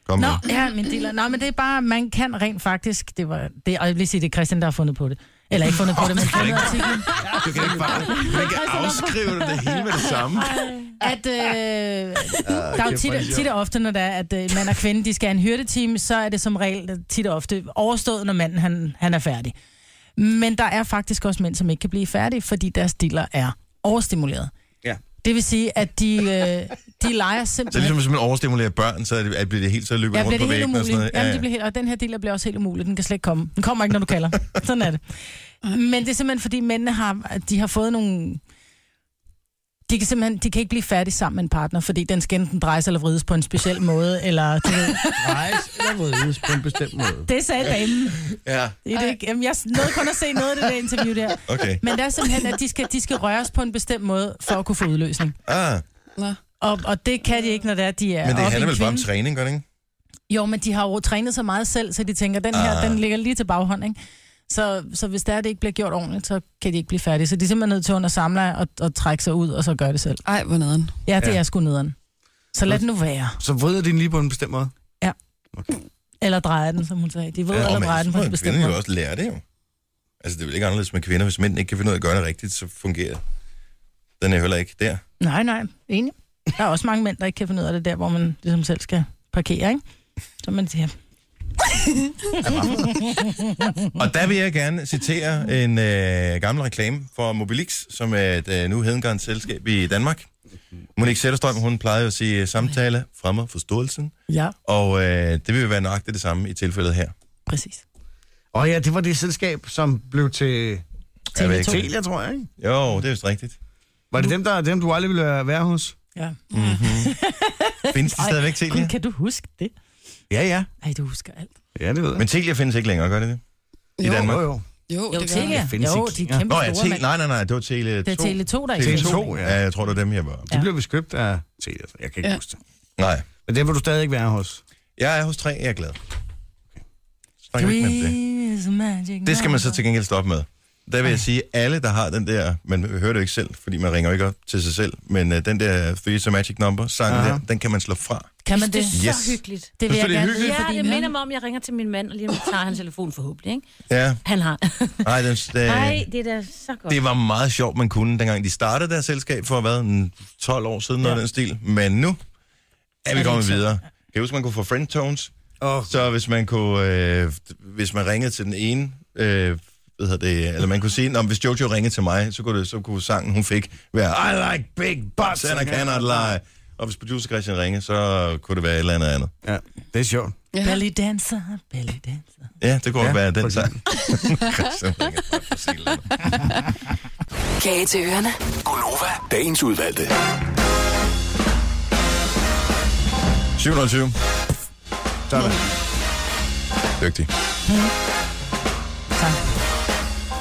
G: Kom
F: Nå,
G: med.
F: ja, min dealer. Nå, men det er bare, man kan rent faktisk, det var, det, og jeg vil lige sige, det er Christian, der har fundet på det. Eller ikke fundet på det, men fundet artiklen.
G: Du kan ikke bare man kan
F: Altså,
G: afskrive det, det hele med det samme.
F: at øh, der er jo
E: kæft, hvor er det
F: tit,
E: sjovt.
F: tit og ofte, når der er, at øh, mand og kvinde, de skal have en hyrdeteam, så er det som regel øh, tit og ofte overstået, når manden han, han er færdig. Men der er faktisk også mænd, som ikke kan blive færdige, fordi deres diller er overstimuleret.
E: Ja.
F: Det vil sige, at de, øh, de leger
G: Så
F: simpelthen...
G: ligesom hvis man overstimulerer børn, så er det, at bliver det helt så løber
F: Ja,
G: rundt
F: bliver
G: på
F: det helt
G: væggen og sådan
F: umuligt.
G: noget.
F: Ja, Jamen, det bliver helt, og den her del bliver også helt umulig. Den kan slet ikke komme. Den kommer ikke, når du
G: (laughs)
F: kalder. Sådan er det. Men det er simpelthen, fordi mændene har, de har fået nogle... De kan simpelthen de kan ikke blive færdige sammen med en partner, fordi den skal enten drejes eller vrides på en
G: (laughs)
F: speciel måde, eller du ved,
E: Rejse eller rødes på en bestemt måde.
F: det sagde damen.
G: ja,
F: I det, jamen, jeg nåede kun at se noget af det der interview der.
G: okay.
F: Men det er simpelthen, at de skal, de skal røres på en bestemt måde, for at kunne få udløsning.
G: Ah,
H: Nå.
F: Og, og det kan de ikke, når det er, de er
G: men det
F: oppe i
G: handler
F: en
G: vel bare om
F: kvinde.
G: træning, gør det ikke?
F: Jo, men de har jo trænet så meget selv, så de tænker, den her,
G: Ah.
F: den ligger lige til baghånd, ikke? Så, så hvis det er, det ikke bliver gjort ordentligt, så kan de ikke blive færdige. Så de er simpelthen nødt til under samle og, og trække sig ud, og så gøre det selv.
H: Ej, hvor nederen.
F: Ja, det ja. er sgu nederen. Så lad det nu være.
E: Så vrider de den lige på en bestemt måde.
F: Eller dreje den, som hun sagde. De ved, ja,
G: og
F: eller dreje
G: så
F: den på
G: må
F: en bestemt
G: kvinder jo
F: måde.
G: også lære det jo. Altså, det er vel ikke anderledes med kvinder. Hvis mænd ikke kan finde ud af at gøre det rigtigt, så fungerer den er heller ikke der.
F: Nej, nej, enig. Der er også mange mænd, der ikke kan finde ud af det der, hvor man ligesom selv skal parkere, ikke? Så man siger, Mhm.
G: Og der vil jeg gerne citere en øh, gammel reklame for Mobilix, som er et øh, nu hedengarns selskab i Danmark. Monique Sætterstrøm, hun plejede jo at sige, samtale fremmer forståelsen.
F: ja,
G: Og øh, det vil jo være nøjagtigt det samme i tilfældet her.
F: præcis.
E: Og ja, det var det selskab, som blev til
G: Jeg
F: TV2.
G: ved ikke.
E: Telia, tror jeg, ikke?
G: Jo, det er vist rigtigt.
E: Var det dem, der, dem du aldrig ville være hos?
F: Ja.
G: Findes de stadigvæk Telia?
F: Gud, kan du huske det?
E: Ja, ja.
F: Ej, du husker alt.
E: Ja, det ved jeg.
G: Men Telia findes ikke længere, gør det det? I
H: Jo.
G: Danmark?
E: jo, jo.
H: Jo,
F: Jo,
H: det gør
F: Telia.
E: Det findes
F: Jo,
E: ikke.
F: de er
E: Ja.
F: kæmpe
G: Nå ja,
F: store,
G: Telia,
F: mand.
G: nej, nej, nej, det var Telia 2.
F: Det er Tele2, der er
E: Tele
F: i
E: to,
F: gang.
E: ja.
G: Ja, jeg tror, det var dem, jeg var.
E: De blev beskøbt af Telia, så jeg kan ikke
H: Ja.
E: huske det.
G: Nej,
E: Men dem vil du stadig ikke være hos.
G: jeg er hos 3, jeg er glad. Snakker vi ikke med om det.
F: Please, magic
G: Det skal man så til gengæld stoppe med. Der vil jeg sige, alle, der har den der, man hører det jo ikke selv, fordi man ringer jo ikke op til sig selv, men uh, den der Three's Magic Number sang
E: Aha.
G: der, den kan man slå fra.
F: Kan man
I: Det
F: det?
I: er så
G: Yes.
I: hyggeligt.
F: Det vil
G: Synes
F: jeg
G: du, det er
F: gerne.
G: hyggeligt?
I: Ja, det
F: mænd-
I: minder mig om, at jeg ringer til min mand, og lige om lidt tager han telefonen forhåbentlig, ikke?
G: Ja,
I: Han har.
G: nej, den, øh,
I: Nej, det er da så godt.
G: det var meget sjovt, man kunne, dengang de startede deres selskab for, hvad, en 12 år siden, noget ja. den stil. Men nu er vi
F: det
G: kommet
F: ikke så-
G: videre. Kan jeg huske, man kunne få friendtones?
E: Og
G: Så hvis man kunne, øh, hvis man ringede til den ene, øh, hvad hedder det, eller man kunne sige, om hvis Jojo ringede til mig, så kunne, det, så kunne sangen, hun fik, være, I like big butts and I cannot lie. Og hvis producer Christian ringede, så kunne det være et eller andet andet.
E: ja, det er sjovt.
F: Belly dancer, belly dancer.
G: Ja, det kunne ja,
E: Ja,
G: være den
E: for
G: sang. (laughs) Christian ringer for at sige et eller andet.
B: Kage til ørerne.
J: Gonova, dagens udvalgte.
G: 720.
E: Sådan.
G: Dygtig.
F: Tak.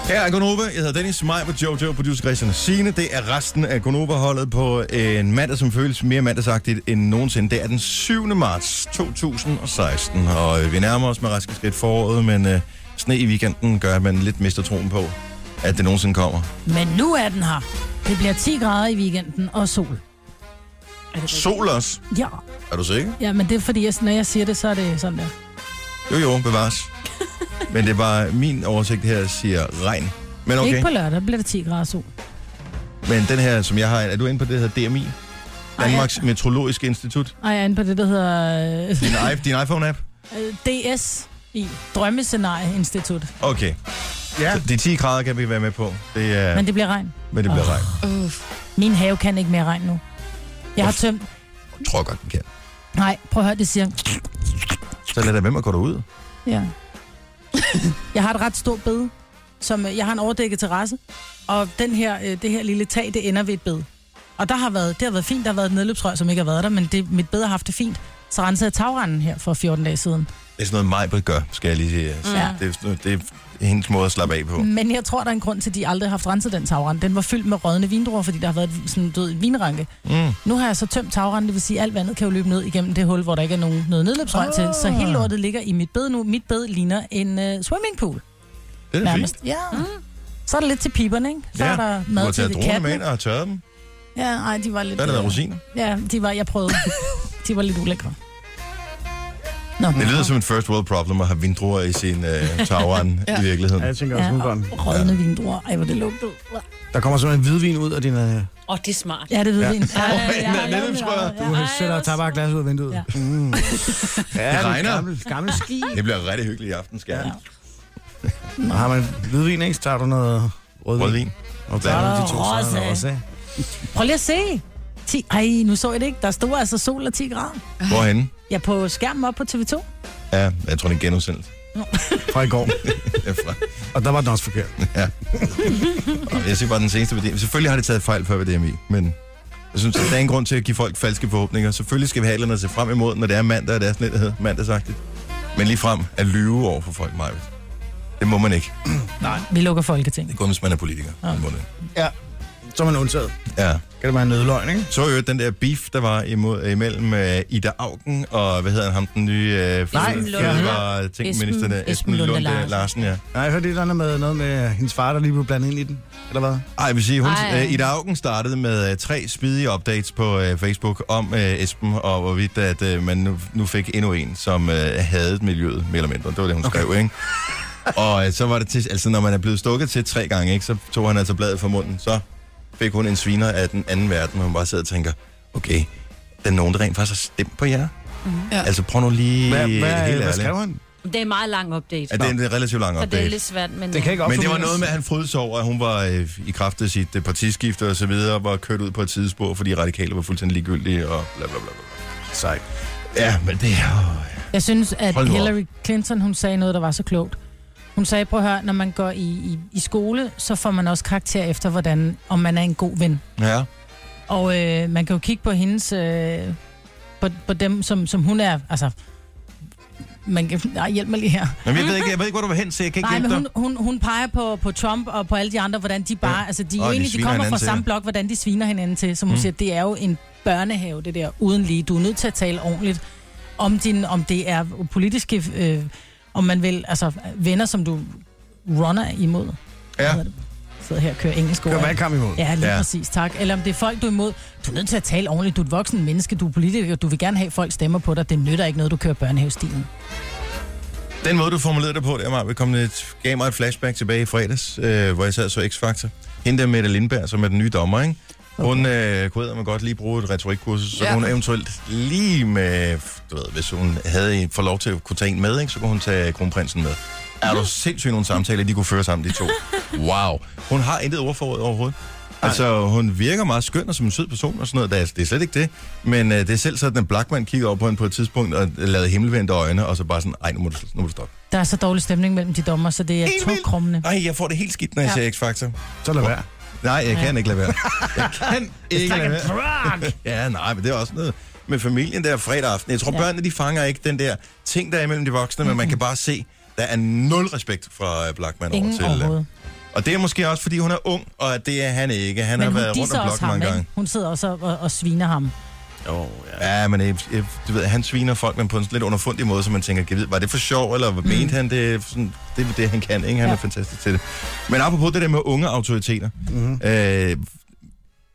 G: Her er Gonova. Jeg hedder Dennis, mig på Jojo, producer Christian Sine. Det er resten af Gonova-holdet på en mandag, som føles mere mandagsagtigt end nogensinde. Det er den 7. marts 2016, og øh, vi nærmer os med raske skridt foråret, men øh, sne i weekenden gør, at man lidt mister troen på, at det nogensinde kommer.
F: Men nu er den her. Det bliver 10 grader i weekenden og sol.
G: Sol også.
F: Ja,
G: Er du sikker?
F: ja men det er fordi, jeg, når jeg siger det, så er det sådan der.
G: Jo, jo,
F: (laughs)
G: bevares. Men det er bare min oversigt her siger regn. Men
F: Okay.
G: okay,
F: Ikke på lørdag bliver det 10 grader sol.
G: men den her, som jeg har, er du inde på det, der hedder DMI?
F: ja.
G: Danmarks Meteorologiske Institut.
F: Og jeg er inde på det, der hedder øh, (laughs)
G: Din, i- din iPhone-app?
F: øh, DSI, Drømmescenarie-institut.
G: Okay.
E: Ja.
G: Ja. De 10 grader kan vi være med på. Det er,
F: Men
G: men,
F: det bliver regn.
G: men det bliver
F: Åh.
G: regn.
H: Uff.
F: Min have kan ikke mere regn nu. Jeg har tømt...
G: Jeg tror godt, den kan.
F: Nej, prøv at høre, det siger...
G: Så lad da være med at gå derud.
F: Ja. (laughs) jeg har et ret stort bed, som øh, jeg har en overdækket terrasse, og den her, øh, det her lille tag, det ender ved et bed. Og der har været, det har været fint, der har været et nedløbsrør, som ikke har været der, men det, mit bed har haft det fint. Så rensede jeg tagranden her for 14 dage siden.
G: Det er sådan noget, Majbrit gør, skal jeg lige sige. Så
F: Ja. Mm.
G: Det, er, sådan- det er hendes måde at slappe af på.
F: Men jeg tror, der er en grund til, at de aldrig har haft renset den tagrende. Den var fyldt med rådne vindruer, fordi der har været et- sådan en død vinranke.
G: Mm.
F: Nu har jeg så tømt tagrenden, det vil sige, at alt vandet kan jo løbe ned igennem det hul, hvor der ikke er nogen, noget nedløbsrør oh. til. Så hele lortet ligger i mit bed nu. Mit bed ligner en uh, swimmingpool.
G: Det er da fint.
F: Ja. Mm. Så er der lidt til piberne, ikke? Så er der
G: du
F: mad
G: har
F: til
G: taget
F: de
G: druerne med
F: katten.
G: ind og har tørret dem.
F: Ja, ej, de var lidt... øh,
G: Der er der været rosiner.
F: Ja, de var, jeg
G: (laughs)
F: prøvede. de var lidt ulækre.
G: Det lyder som en first world problem at have vindruer i sin øh, tageren
F: Ja.
G: i virkeligheden.
E: Ja, jeg tænker også ja.
F: og rådne ja. vindruer. Ej, hvor det lugtede.
E: Der kommer simpelthen hvidvin ud af din... Øh,
I: Åh, oh, det er smart.
F: Ja, det ved
E: Ja.
F: vi. Ja.
I: Ej,
G: Ja,
I: jeg har
G: det er
I: lavet
G: lidt, tror jeg.
I: det.
E: du
I: Ej,
E: ja, sætter
I: hvor
E: tabak glas ud af vinduet.
F: Ja.
E: Ja. Mm. ja, det
G: regner.
E: Gammel, gammel ski.
G: Det bliver rigtig hyggeligt i aften, skal jeg.
E: Og har man hvidvin, ikke? Så tager du noget rødvin.
G: Rødvin.
E: Og blander
F: Så er
E: de
F: der
E: to sammen
F: rosa.
E: med rosa.
F: Prøv lige at se. 10. Ej, nu så jeg det ikke. Der stod altså sol og 10 grader.
G: Hvorhenne?
F: Jeg er på skærmen op på TV2.
G: Ja, jeg tror, det er genudsendt.
E: Fra i går.
G: Derfra.
E: Og der var den også forkert.
G: Nå, Jeg siger bare den seneste VDM. Selvfølgelig har det taget fejl før ved DMI, men jeg synes, der er en grund til at give folk falske forhåbninger. Selvfølgelig skal vi have et eller andet at se frem imod, når det er mandag, og det er sådan lidt, der hedder mandagsagtigt. Men lige frem at lyve over for folk, Maja. Det må man ikke.
F: Vi lukker Folketinget.
G: Det er kun, hvis man er politiker. Man må det.
E: Ja. Så er man undtaget.
G: Ja.
E: Kan det være en nødløgn, ikke?
G: Så jo den der beef, der var imod, imellem øh, Ida Augen og, hvad hedder han, ham, den nye øh,
E: Nej, Lunde.
G: var tingminister, der,
I: Esben-
G: Esben Lunde Larsen. Larsen ja.
E: Nej, jeg hørte et eller andet med noget med hendes far, der lige blev blandet ind i den. Eller hvad?
G: Ej, jeg vil sige, hun,
H: Ej.
G: øh, Ida Augen startede med øh, tre spidige updates på øh, Facebook om øh, Esben, og hvorvidt at, øh, man nu, nu fik endnu en, som øh, havde miljøet, mere eller mindre. Det var det, hun okay. skrev, ikke? Og øh, så var det til, altså når man er blevet stukket til tre gange, ikke, så tog han altså bladet fra munden. Så fik hun en sviner af den anden verden, hvor hun bare sidder og tænker, okay, der er nogen, der rent faktisk har stemt på jer. Mm-hmm.
H: Ja.
G: Altså prøv nu lige
E: Mhm. Hvad, hvad,
G: helt
E: hvad
G: ærligt.
E: skrev han?
I: Det er en meget lang update.
G: Ja, det er en relativt lang
I: Så
G: update.
I: det er lidt svært, men...
E: Det kan ikke
G: Men det var
E: opsummeres.
G: noget med, at han frydede sig over, at hun var øh, i kraft af sit øh, partiskifte og så videre, og var kørt ud på et tidsspor, fordi radikale var fuldstændig ligegyldige og bla bla bla. bla. Sejt. Ja, men det er... Øh,
F: Jeg synes, at
G: Hold nu op.
F: Hillary Clinton, hun sagde noget, der var så klogt. Hun sagde, prøv at høre, når man går i, i, i skole, så får man også karakter efter, hvordan, om man er en god ven.
G: øh, ja.
F: Og øh, man kan jo kigge på hendes... Øh, på, på dem, som, som hun er... Altså, man kan... Nej, hjælp mig lige her.
G: Men jeg ved ikke, jeg ved ikke hvor du var hen, så jeg kan ikke
F: Nej, men
G: hjælpe
F: hun,
G: dig.
F: hun, hun peger på, på Trump og på alle de andre, hvordan de bare...
G: Ja.
F: Ja. Altså, de, er
G: Og
F: jo
G: de
F: egentlig, de
G: sviner
F: kommer
G: hinanden
F: fra
G: til,
F: samme
G: ja.
F: blok, hvordan de sviner hinanden til. Som hun mm. siger, det er jo en børnehave, det der, uden lige. Du er nødt til at tale ordentligt om, din, om det er politiske... Øh, om man vil... Altså, venner, som du runner imod. Hvad
G: Ja.
F: hedder det? Jeg sidder her og kører engelsk
E: Kører
F: ord.
E: valgkamp imod.
F: Ja, lige
G: Ja.
F: ja. præcis, tak. Eller om det er folk, du er imod. Du er nødt til at tale ordentligt. Du er et voksen menneske, du er politiker, du vil gerne have, at folk stemmer på dig. Det nytter ikke noget, du kører børnehavestilen.
G: Den måde, du formulerede dig på, der var, vi kom lidt, gav mig et flashback tilbage i fredags, øh, hvor jeg sad og så X-Factor. Hende der Mette Lindberg, som er den nye dommer, ikke? Hun øh, kunne man godt lige bruge et retorikkursus, så ja.
H: Ja.
G: hun eventuelt lige med, du ved, hvis hun havde en, for lov til at kunne tage en med, ikke, så kunne hun tage kronprinsen med. Er du sindssygt nogle samtaler, de kunne føre sammen, de to? Wow. Hun har intet ordforråd overhovedet. Altså, hun virker meget skøn og som en sød person og sådan noget. Det er, det er slet ikke det. Men øh, det er selv sådan, at Blackman kigger op på hende på et tidspunkt og lavede himmelvendte øjne, og så bare sådan, ej, nu må du, nu må du stoppe.
F: Der er så dårlig stemning mellem de dommer, så det er
G: Helt
F: to
G: vildt.
F: krummende.
G: Ej, jeg får det helt skidt, når jeg ja. ser X-Factor.
E: Så lad være.
G: Nej, jeg kan ikke lade
F: (laughs)
G: være. Jeg kan ikke lade være. (laughs) ja, nej, men det er også noget med familien der fredag aften. Jeg tror, ja. børnene de fanger ikke den der ting, der er imellem de voksne, men man kan bare se, der er nul respekt fra øh, Blackman
F: Ingen
G: over til. øh,
F: overhovedet.
G: Og det er måske også, fordi hun er ung, og at det er han ikke. Han
F: Men
G: har
F: hun
G: været rundt
F: disser
G: om
F: også
G: blokken
F: ham,
G: mange
F: ikke?
G: gange.
F: Hun sidder også og, og sviner ham.
G: Ja, men øh, øh, du ved, han sviner folk, men på en lidt underfundig måde, så man tænker, kan vide, var det for sjov, eller hvad mm. mente han det? Sådan, det er det, han kan, ikke? Han ja.
F: Ja.
G: er fantastisk til det. Men apropos det der med unge autoriteter, mm. øh, det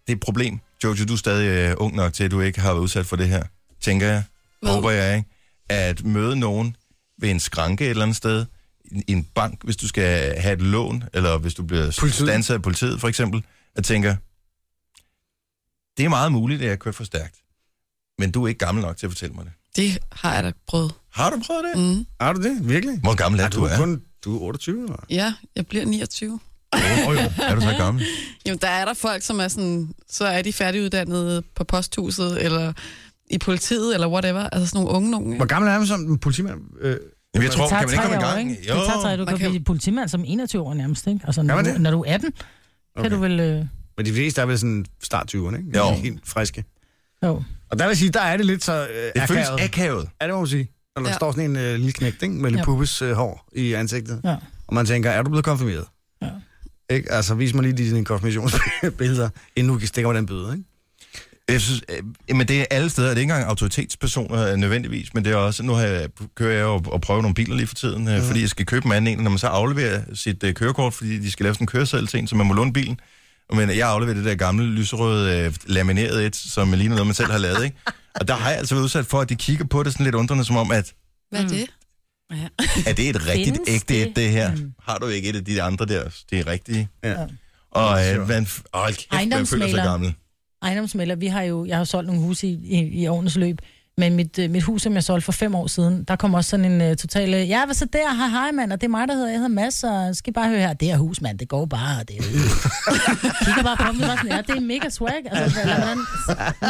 G: er et problem. Jojo, du er stadig øh, ung nok til, at du ikke har været udsat for det her, tænker jeg.
H: Hvad?
G: Håber jeg, ikke? At møde nogen ved en skranke et eller andet sted, i- i en bank, hvis du skal have et lån, eller hvis du bliver
E: Politiet.
G: stanset af politiet, for eksempel, at tænker, det er meget muligt, at jeg kører for stærkt. Men du er ikke gammel nok til at fortælle mig det.
H: Det har jeg da prøvet.
G: Har du prøvet det?
H: Mm.
E: Er du det? Virkelig?
G: Hvor gammel er
E: Er
G: du? Er?
E: kun... Du er 28, eller?
H: Ja, jeg bliver 29.
G: Oh, jo. er du så gammel?
H: Jamen, der er der folk, som er sådan, så er de færdiguddannede på posthuset, eller i politiet, eller whatever. Altså sådan nogle unge nogen. ikke?
E: Hvor gammel er man som en politimand? Øh,
G: Jamen, jeg tror,
F: det tager
G: kan man ikke komme i
F: tre år,
G: gang?
F: ikke? Det tager tre år. Du
H: Man
F: kan,
H: kan-
F: blive politimand som 21 år nærmest, ikke? Altså, når,
E: man
F: du,
E: det?
F: når du er 18, okay.
E: Okay.
F: kan du vel... Øh...
E: men de fleste er vel sådan start 20'erne, ikke?
G: Jo.
E: Helt friske.
F: Jo.
E: Og der vil jeg sige, der er det lidt så øh,
G: Det føles
E: akavet.
G: akavet.
E: Ja, det må man sige. Når der
H: Ja.
E: ja. står sådan en øh, lille knægt, ikke? Med lidt
F: Ja.
E: pubes øh, hår i ansigtet.
F: Ja.
E: Og man tænker, er du blevet konfirmeret?
F: Ja.
E: Ikke? Altså, vis mig lige dine konfirmationsbilleder, inden du stikker mig den bøde, ikke?
G: Jeg synes, øh, men det er alle steder. Det er ikke engang autoritetspersoner øh, nødvendigvis, men det er også, nu har jeg, kører jeg og, og prøver nogle biler lige for tiden, øh, fordi jeg skal købe en anden en, og når man så afleverer sit øh, kørekort, fordi de skal lave sådan en køreseddel til en, så man må låne bilen. Men jeg afleverer det der gamle lyserøde øh, lamineret et, som ligner noget, man selv har lavet, ikke? Og der har jeg altså været udsat for, at de kigger på det sådan lidt undrende, som om, at
H: Hvad er det? (laughs)
G: er det et rigtigt
I: Findes
G: ægte et,
I: det?
G: det her? Har du ikke et af de andre der, de er rigtige?
E: Ja.
G: Og øh, man, f- åh, kæft, man føler sig
F: Ejendomsmægler.
G: gammel.
F: Ejendomsmælder, vi har jo, jeg har jo solgt nogle huse i, i, i årenes løb, men mit, øh, mit hus, som jeg solgte for fem år siden, der kom også sådan en uh, total, øh, ja, hvad så der, hej, hej mand, og det er mig, der hedder, jeg hedder Mads, og skal I bare høre her, det her hus, mand, det går bare, og det er Kigger bare på mig, og var sådan, ja, det er mega swag, altså, eller, han,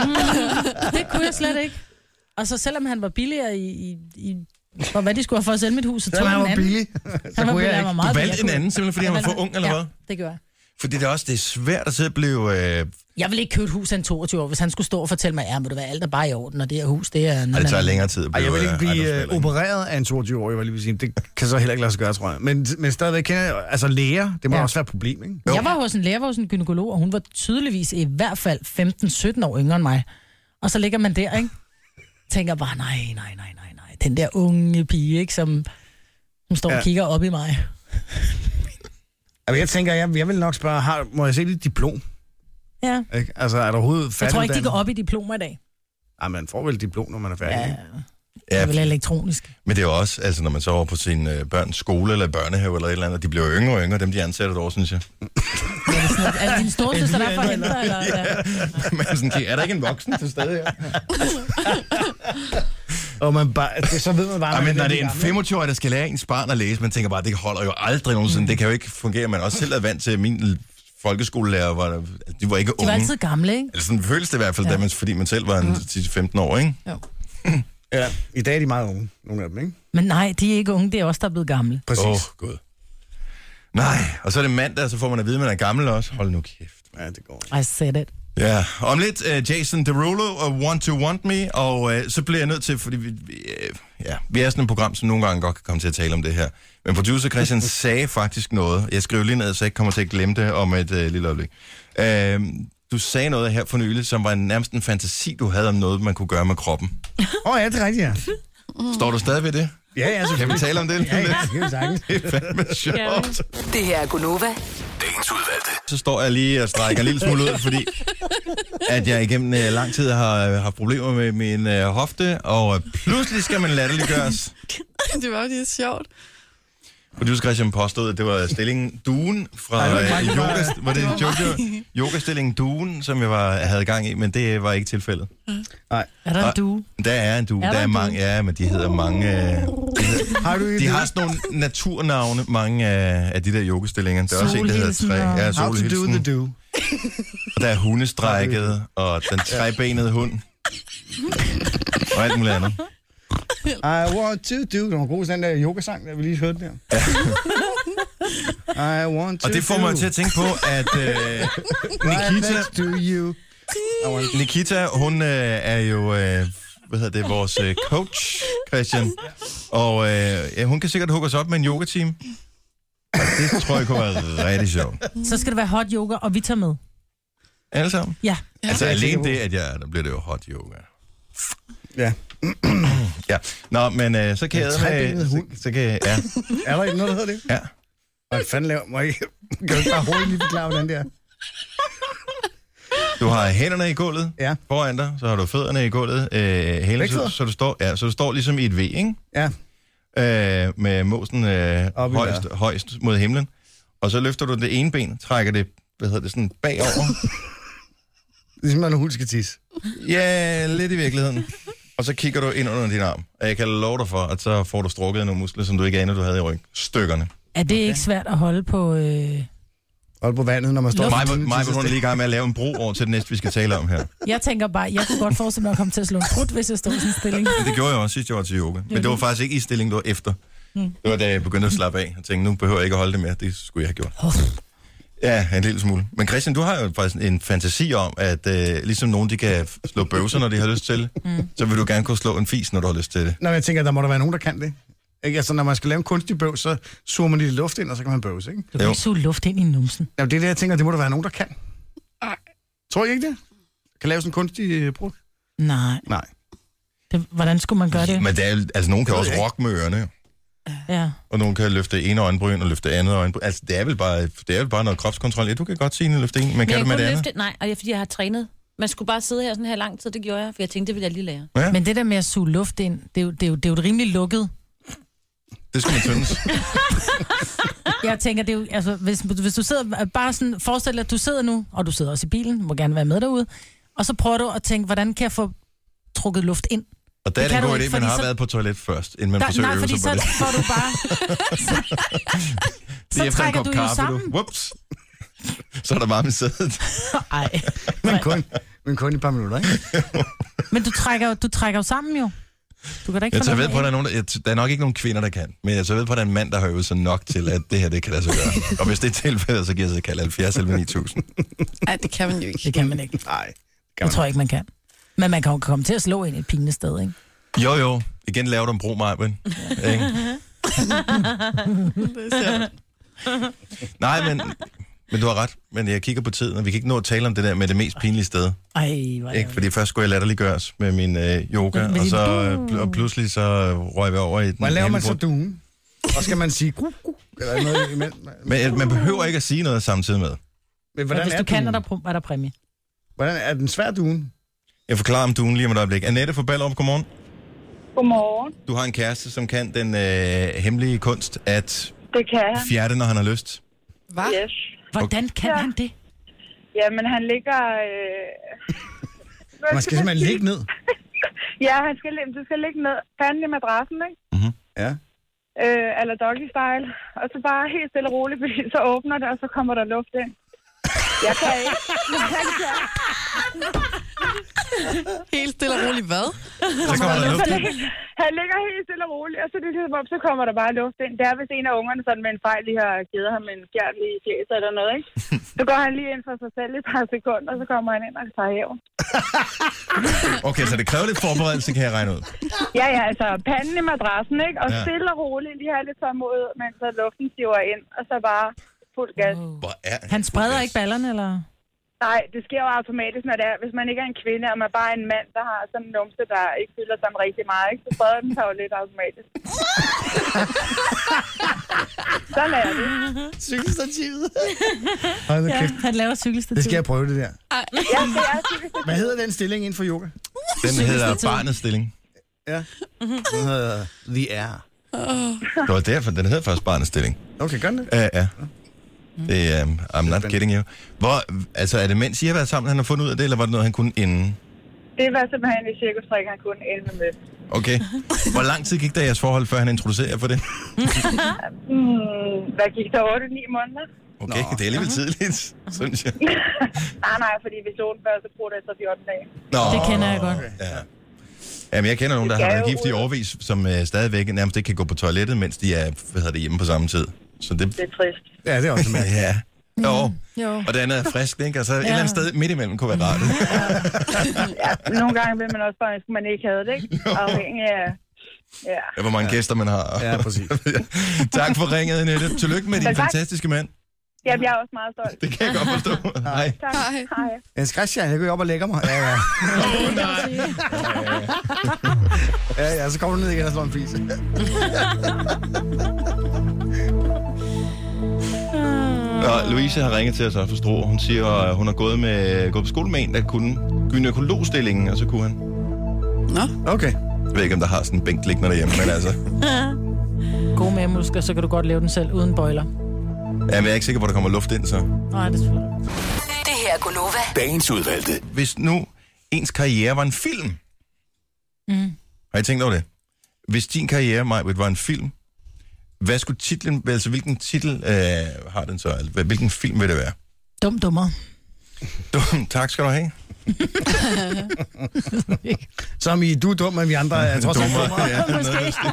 F: mm, det kunne jeg slet ikke. Og så selvom han var billigere i, i, i for hvad de skulle have for at sælge mit hus, så tog
E: Den
F: han
E: er
F: en
E: jo
F: anden.
E: billig.
F: Han var
E: kunne jeg
F: billigere, han var
E: ikke.
F: meget
G: Du valgte
F: billigere.
G: en anden, simpelthen fordi han var
F: Jeg valgte
G: for ung, eller
F: ja,
G: hvad?
F: det gør jeg.
G: Fordi det er også det er svært at sidde og blive... Øh,
F: Jeg vil ikke købe et hus af en 22 år, hvis han skulle stå og fortælle mig, ja, må du være alt er bare i orden, og det her hus, det er...
G: Ej, det tager længere tid at
E: Ej,
G: blive
E: jeg vil ikke
G: øh,
E: blive øh,
G: ejendomsmægler, ikke?
E: opereret af en 22-årig, var jeg lige vil sige. Det kan så heller ikke lade sig gøre, tror jeg. Men, men stadigvæk kender jeg, altså læger, det må
F: Ja.
E: også være et problem, ikke?
F: Jeg var hos en lærer, hos en gynekolog, og hun var tydeligvis i hvert fald 15-17 år yngre end mig. Og så ligger man der, ikke? Tænker bare, nej, nej, nej, nej, nej. Den der unge pige, ikke? Som, som står ja.
E: Ja.
F: og kigger op i mig.
E: Altså, jeg tænker, jeg, jeg vil nok spørge, har, må jeg se dit diplom?
F: Ja.
E: Ikke? Altså, er der overhovedet
F: Jeg
E: færdig?
F: tror ikke, de går op i diplomer i dag.
E: Ej, man får vel et diplom, når man er færdig.
F: Ja,
E: ikke?
F: det er vel
G: Ja,
F: elektronisk.
G: men det er jo også, altså når man så over på sin øh, børns skole eller børnehave eller et eller andet, og de bliver yngre og yngre, dem de ansætter derovre, synes jeg.
F: Ja, det er, sådan, at, er det din store søster, der får henter, eller? Ja.
G: (laughs) Men sådan, "Okay, er der ikke en voksen til stede her?
E: Og man bare, det, så ved man bare...
G: Ej,
E: man
G: men når
E: lidt
G: det er en
E: gammel.
G: 25-årig, der skal lære ens barn at læse, man tænker bare, det holder jo aldrig nogensinde. Det kan jo ikke fungere. Man er også selv er vant til, at min l- folkeskolelærer var, der- de var ikke
F: De
G: unge.
F: var altid gamle, ikke?
G: Eller sådan føles det i hvert fald, ja. da man, fordi man selv var en 10-15 år, ikke?
F: Jo.
E: Ja, i dag er de meget unge, nogle af dem, ikke?
F: Men nej, de er ikke unge, det er også der er blevet gamle.
E: Præcis.
G: Åh, oh, gud. Nej, og så er det mandag, og så får man at vide, at man er gammel også. Hold nu kæft.
E: Ja, det går.
F: I said it.
G: Ja, om lidt uh, Jason Derulo og Want to Want Me, og uh, så bliver jeg nødt til, fordi vi, vi, øh, ja, vi er sådan et program, som nogle gange godt kan komme til at tale om det her. Men producer
E: (laughs)
G: Christian sagde faktisk noget. Jeg skrev lige ned, så jeg ikke kommer til at glemme det om et uh, lille øjeblik. Uh, du sagde noget her for nylig, som var nærmest en fantasi, du havde om noget, man kunne gøre med kroppen.
E: Åh, oh, ja, det er rigtigt, ja.
G: Står du stadig ved det?
E: Ja, ja,
G: Kan vi
E: selvfølgelig.
G: tale om det?
E: Ja, ja, det kan vi sagtens.
G: (laughs) Det er fandme sjovt.
B: Det her er Gunova.
J: Dagens udvalgte.
G: så står jeg lige og strækker en lille smule ud, fordi at jeg igennem øh, lang tid har øh, haft problemer med min øh, hofte, og øh, pludselig skal man latterliggøres.
H: det var jo lige sjovt.
G: Og du Christian påstod, at det var stillingen Duen fra
E: Nej, det var
G: øh,
E: ikke mig, det var-
G: yoga, var det
H: det var
G: yoga, yogastillingen Duen, som jeg var, havde gang i, men det var ikke tilfældet.
F: Er der
G: Og-
F: en due?
G: Der er en due,
F: Er
G: der,
F: der
G: er
F: en
G: mange, ja, men de hedder mange, øh,
E: Har du et
G: de har sådan nogle naturnavne, mange øh, af, af de der yogastillinger. Der er også en, der hedder
F: Solhilsen
G: træ,
F: og-
G: ja,
E: How to do
G: solhilsen,
E: the do.
G: og der er hundestrækket, og den trebenede hund, og alt muligt andet.
E: I want to do. Den var god, sådan den der yogasang, der vi lige hørte der. (laughs) I want to
G: Og det får
E: do.
G: mig til at tænke på, at øh,
E: Right
G: Nikita,
E: next to you. I want to
G: Nikita, hun øh, er jo, øh, hvad hedder det, vores øh, coach, Christian. Og øh, ja, hun kan sikkert hugge os op med en yogateam. Og det tror jeg kunne være rigtig sjovt.
F: Så skal det være hot yoga, og vi tager med.
G: Alle sammen.
F: Ja.
G: Altså
E: det er jeg sikker
G: alene
E: på.
G: det, at jeg er der, bliver det jo hot yoga.
E: Ja.
G: Ja. Nå, men øh, så kan
E: En
G: jeg...
E: trebenet
G: så,
E: hund.
G: så kan jeg, ja,
E: Er der ikke noget, der hedder det?
G: ja.
E: Hvad fanden laver mig? Kan du ikke bare hurtigt lige forklare, hvordan det er?
G: Du har hænderne i gulvet
E: Ja.
G: foran dig, så har du fødderne i gulvet, øh, hele,
E: Begge
G: så,
E: fødder?
G: så, du står, ja, så du står ligesom i et V, ikke?
E: Ja.
G: øh, med mosen øh,
E: Op i
G: højst,
E: vejret.
G: højst mod himlen. Og så løfter du det ene ben, trækker det, hvad hedder det, sådan
E: (laughs)
G: bagover.
E: Ligesom når en hund skal tisse.
G: ja, lidt i virkeligheden. Og så kigger du ind under din arm. Og jeg kan love dig for, at så får du strukket nogle muskler, som du ikke anede, du havde i ryggen. Stykkerne.
F: Er det okay. ikke svært at holde på... Øh...
E: Og på vandet, når man står...
G: Mig, mig hun er lige i gang med at lave en bro over til det næste, vi skal tale om her.
F: Jeg tænker bare, jeg kunne godt forestille mig at komme til at slå en prut, hvis jeg stod i sådan en
G: (laughs)
F: stilling.
G: Men det gjorde jeg også sidste år til yoga. Men det var faktisk ikke i stilling, det var efter. Det var da jeg begyndte at slappe af og tænkte, nu behøver jeg ikke at holde det mere. Det skulle jeg have gjort.
F: Oh,
G: Ja, en lille smule. Men Christian, du har jo faktisk en fantasi om, at øh, ligesom nogen, de kan f- slå bøvser, når de har lyst til mm. så vil du gerne kunne slå en fis, når du har lyst til det.
E: Nå, men jeg tænker, der må der være nogen, der kan det. Ikke? Altså, når man skal lave en kunstig bøvs, så suger man lidt luft ind, og så kan man bøvse, ikke?
F: Du kan
G: Jo.
F: ikke suge luft ind i numsen.
E: Jamen, det er det, jeg tænker, det må der være nogen, der kan. Tror I ikke det? Kan lave sådan en kunstig øh, brug?
F: Nej.
E: Nej.
F: Det, hvordan skulle man gøre det?
G: Men der er, jo- altså, nogen kan
E: Det ved
G: også
E: jeg ikke.
G: rock med ørerne,
F: Ja.
G: og nogen kan løfte ene øjenbryn og løfte andet øjenbryn. Altså, det er vel bare, det er vel bare noget kropskontrol. Ja, du kan godt sige, at løfte en, men, men kan
I: jeg
G: du med
I: kunne
G: det andet?
I: løfte, nej, og det er fordi, jeg har trænet. Man skulle bare sidde her sådan her lang tid, det gjorde jeg, for jeg tænkte, det ville jeg lige lære.
G: Ja,
F: Men det der med at suge luft ind, det er jo, det er jo, det er jo et rimelig lukket.
G: det skal man tyndes.
F: Jeg tænker, det er jo, altså, hvis, hvis du sidder bare sådan, forestil dig, at du sidder nu, og du sidder også i bilen, må gerne være med derude, og så prøver du at tænke, hvordan kan jeg få trukket luft ind?
G: Og der er
F: Det
G: det en
F: kan du
G: god idé,
F: ikke,
G: man
F: fordi
G: har
F: så-
G: været på toilet først, inden man
F: Der,
G: forsøger at
F: nej,
G: øve
F: fordi
G: sig
F: så
G: på
F: får
G: det.
F: du
G: (laughs)
F: bare... så, så trækker du jo sammen.
G: Whoops. (laughs) Så er der varme i sædet.
F: Ej.
E: Men kun, men kun i et par minutter, ikke?
F: Men du trækker, jo- du trækker jo sammen jo. Du kan da ikke
G: Jeg
F: få
G: tager
F: noget
G: ved på, at
F: ind.
G: der er, nogen, der, jeg t- der er nok ikke nogen kvinder, der kan. Men jeg tager ved på, at der er en mand, der har øvet sig nok til, at det her, det kan lade sig gøre. Og hvis det er tilfældet, så giver jeg sig kald 70 eller 9000.
D: Nej, det kan man jo ikke.
G: (laughs)
F: Det kan man ikke.
E: Nej.
F: Det tror jeg ikke, man kan. Men man kan jo komme til at slå ind et pinligt sted, ikke?
G: Jo, jo. Igen laver du en bro, Marvin. Nej, men, men du har ret. Men jeg kigger på tiden, og vi kan ikke nå at tale om det der med det mest pinlige sted.
F: Ej, hvor er
G: Ikke?
F: det...
G: Fordi først skulle jeg latterliggøres med min øh, yoga,
F: Med
G: og
F: din
G: så øh, pl- og pludselig så øh, røg vi over i den
E: Hvordan laver man så
G: helvede-
E: duen? Og skal man sige gu, gu, eller noget imellem?
G: Men øh, man behøver ikke at sige noget samtidig med.
E: Men
F: Men
E: hvordan
F: hvis
E: er
F: du kan, er
E: duen?
F: der, pr- er der præmie.
E: Hvordan er den svær duen?
G: Jeg forklarer om duen lige om et øjeblik. Annette fra Ballerup, godmorgen.
K: Godmorgen.
G: Du har en kæreste, som kan den øh, hemmelige kunst at
K: Det kan han.
G: fjerte, når han har lyst.
D: Hvad?
K: Yes.
F: Hvordan kan han det?
K: Jamen, han ligger... Øh... Hvad
E: Man skal simpelthen
K: sige?
E: ligge ned.
K: Ja, han skal, lig- du skal ligge ned. Fanden i madrassen, ikke?
E: Ja.
K: Øh, eller doggy style. Og så bare helt stille og roligt, fordi så åbner det, og så kommer der luft ind. Jeg kan ikke. Men han kan.
D: Helt stille og roligt, hvad?
G: Så kommer der luft ind.
K: Han ligger helt stille og roligt, og så er det ligesom om, så kommer der bare luft ind. Det er, hvis en af ungerne sådan med en fejl lige har givet ham en fjern lige i fjeset eller noget, ikke? Så går han lige ind for sig selv i et par sekunder, og så kommer han ind og tager hævn.
G: Okay, så det kræver lidt forberedelse, kan jeg regne ud.
K: Ja, ja, altså panden i madrassen, ikke? Og
G: Ja.
K: ja. stille og roligt lige have lidt tålmodighed, mens så luften siver ind, og så bare fuld gas. Oh.
G: Hvor er
F: Han spreder ikke ballerne, eller?
K: Nej, det sker jo automatisk, når det er, hvis man ikke er en kvinde, og man bare er en mand, der har sådan en numse, der ikke fylder sig med rigtig meget, ikke? Så spreder den sig jo lidt
G: (laughs)
K: automatisk. sådan er det.
E: Cykelstativet. Hold da kæft.
F: Han laver cykelstativ.
E: Det skal jeg prøve, det der.
K: Ja, det er typisk.
E: Hvad hedder den stilling inden for yoga?
G: Den hedder barnets stilling.
E: Ja. Den hedder The Air.
G: Det var derfor, den hedder først barnets stilling.
E: Okay, gør den det?
G: Ja, ja. Det er, um, I'm not kidding you. Hvor, altså, er det mens I har været sammen, han har fundet ud af det, eller var det noget, han kunne inden?
K: Det var simpelthen i cirkustræk, han kunne ende med mødt.
G: Okay. Hvor lang tid gik der i jeres forhold, før han introducerede jer for det?
K: Hmm, hvad gik der 8-9 måneder?
G: Okay, Nå. det er alligevel tidligt, synes jeg.
K: nej, nej, fordi vi så den før, så bruger det efter 14 dage.
G: Nå.
F: Det kender jeg godt.
G: Ja. Jamen, jeg kender nogen, der har
K: Det er
G: været
K: jo
G: gift i
K: ud.
G: årvis, som øh, stadigvæk nærmest ikke kan gå på toilettet, mens de er hvad hedder det, hjemme på samme tid. Så det...
K: Det er trist.
E: Ja, det er også mærkeligt.
G: Ja. Jo.
F: Jo.
G: Og det andet er frisk, ikke? Og så et eller andet sted midt imellem kunne være rart.
K: Ja, nogle gange vil man også bare ønske, at man ikke havde det,
G: (laughs)
K: ikke? Afhængig af... Ja.
G: Ja, hvor mange ja. gæster man har.
E: Ja, præcis.
G: (laughs) tak for ringet, Annette. Tillykke med din
K: Selv tak.
G: fantastiske mand.
K: Jamen, jeg er også meget stolt.
G: Det kan jeg godt forstå. Hej.
K: Tak.
D: Hej.
K: Hej.
E: Jens Christian, jeg går jo op og lægger mig. Ja, ja. ja, ja, så kommer du ned igen og slår en fise.
G: Og Louise har ringet til os også fra Struer. Hun siger, at hun har gået, med, gået på skole med en, der kunne gynekologstillingen, og så kunne han.
D: Nå,
E: Okay.
G: Jeg ved ikke, om der har sådan en bænk liggende derhjemme, men altså...
F: Gode mavemuskler, så kan du godt lave den selv uden bøjler.
G: Jamen, jeg er ikke sikker på, at der kommer luft ind, så...
F: Nej, det er selvfølgelig.
B: Det her er Gunova.
L: Dagens udvalgte.
G: hvis nu ens karriere var en film. Mm. Har I tænkt over det? Hvis din karriere, Majbrit, var en film, hvad skulle titlen, altså hvilken titel øh, har den så? Altså, hvad- Hvilken film vil det være?
F: Dum dummer.
G: Dum, tak skal du have.
E: Som i, du er dum, men vi andre er trods alt dummere.
G: ja, noget af (laughs) den stil.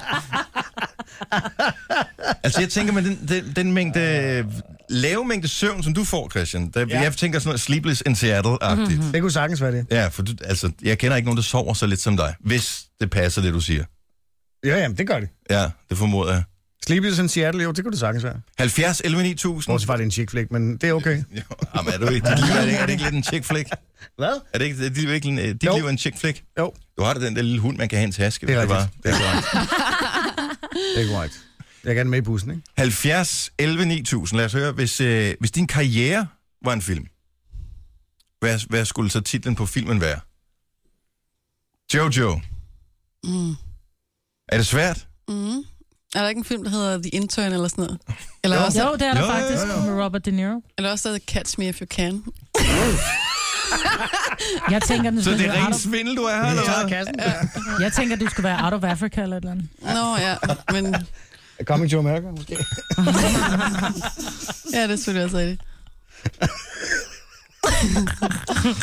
G: altså jeg tænker, med den, den, den mængde øh, lave mængde søvn, som du får, Christian. Der, ja. Jeg tænker sådan noget sleepless in Seattle-agtigt. Mm-hmm.
E: Det kunne sagtens være det.
G: Ja, for du, altså, jeg kender ikke nogen, der sover så lidt som dig, hvis det passer det, du siger.
E: Ja, jamen, det gør det.
G: Ja, det formoder jeg.
E: Sleepless in Seattle, jo, det kunne det sagtens være.
G: 70 11 9000.
E: Bortset fra, at det er en chick flick, men det er okay.
G: Jo, jamen, er, du ikke, dit liv, er, det, ikke- er det ikke lidt en chick flick?
E: Hvad?
G: Er det ikke, er det virkelig en, øh, dit
E: Jo.
G: liv er en chick flick?
E: Jo,
G: Du har da den der lille hund, man kan have i en taske.
E: Det er
G: hvis
E: rigtigt.
G: Det var. Det er
E: det er korrekt. Jeg er gerne med i bussen, ikke?
G: 70 11 9000. Lad os høre, hvis, øh, hvis din karriere var en film, hvad, hvad skulle så titlen på filmen være? Jojo.
H: Mm.
G: Er det svært?
H: Mm. Er der ikke en film, der hedder The Intern eller sådan noget? Eller,
G: Jo.
H: også,
F: Jo, det er der
G: Jo, jo,
F: faktisk
G: jo, jo.
F: med Robert De Niro.
H: eller også der hedder Catch Me If You Can.
F: Jeg tænker, den
G: Så
F: skulle
G: det
F: være
G: er
F: out
G: ren
F: of,
G: svindel, du er her,
E: Jeg
G: eller
E: tager
G: hvad?
E: kassen.
F: (laughs) jeg tænker, du skulle være out of Africa eller et eller andet.
H: Nå ja, men
E: Coming to America, måske.
H: (laughs) ja, det er selvfølgelig også rigtigt.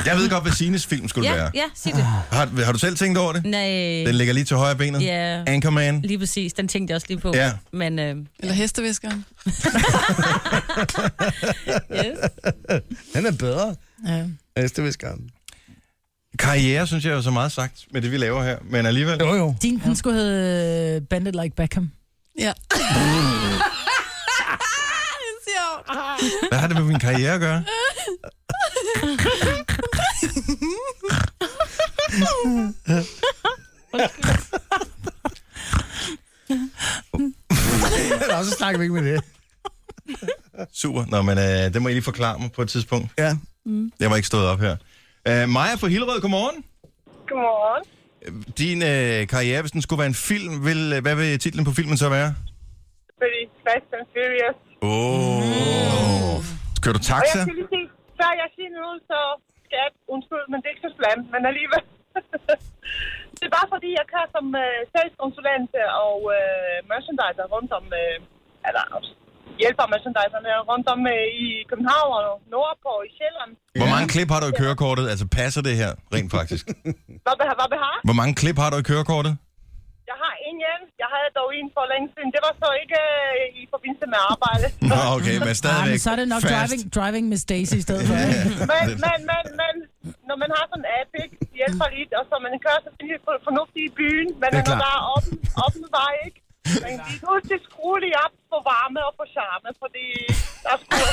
G: Jeg ved godt, hvad Sines film skulle
I: Ja,
G: være.
I: ja, sig det.
G: Har, har du selv tænkt over Ah. det?
I: Nej,
G: Den ligger lige til højre benet.
I: Ja.
G: Anchorman.
I: lige præcis. Den tænkte jeg også lige på.
G: Ja.
I: Men øh,
H: Eller Hesteviskeren.
I: yes.
E: Den er bedre.
F: Ja.
E: Hesteviskeren.
G: Karriere, synes jeg, er så meget sagt med det, vi laver her. Men alligevel...
E: Jo, jo.
F: Din den skulle hedde øh, Bandit Like Beckham.
H: Ja. (laughs)
G: Hvad har det med min karriere at gøre?
E: Og så snakker vi ikke med det.
G: Super. Nå, men øh, det må I lige forklare mig på et tidspunkt. Mm.
E: Ja.
G: Jeg var ikke stået op her. Øh, Maja fra Hillerød, godmorgen.
M: Godmorgen.
G: Din øh, karriere, hvis den skulle være en film, vil, øh, hvad vil titlen på filmen så være?
M: Fordi Fast and Furious.
G: Åh. Oh. Kører du
M: Og jeg
G: taxa?
M: skal lige sige, før jeg siger noget, så skat, undskyld, men det er ikke så slemt, men alligevel. (laughs) det er bare fordi, jeg kører som øh, salgskonsulent og øh, merchandiser rundt om, øh, eller hjælper merchandiserne rundt om øh, i København og Nordpå og i Sjælland.
G: Hvor mange klip har du i kørekortet? Altså, passer det her rent faktisk?
M: Hvad vil hvad vil have?
G: Hvor mange klip har du i kørekortet?
M: Jeg har en hjem. Jeg havde dog en for længe siden. Det var så ikke øh, i forbindelse med arbejde.
G: Nå, okay, men
F: Ah,
G: stadigvæk
F: men så er det nok
G: fast.
F: driving, driving Miss Daisy i stedet for. ikke?
M: Men, men,
G: (laughs)
M: men, men, når man har sådan en app, ikke? Det hjælper lidt, og så man kører selvfølgelig for, fornuftigt i byen, men
E: Det er
M: man er
E: klart.
M: bare op, op med vej, ikke? Men de er nødt til at skrue lige op for varme og for charme, fordi der skulle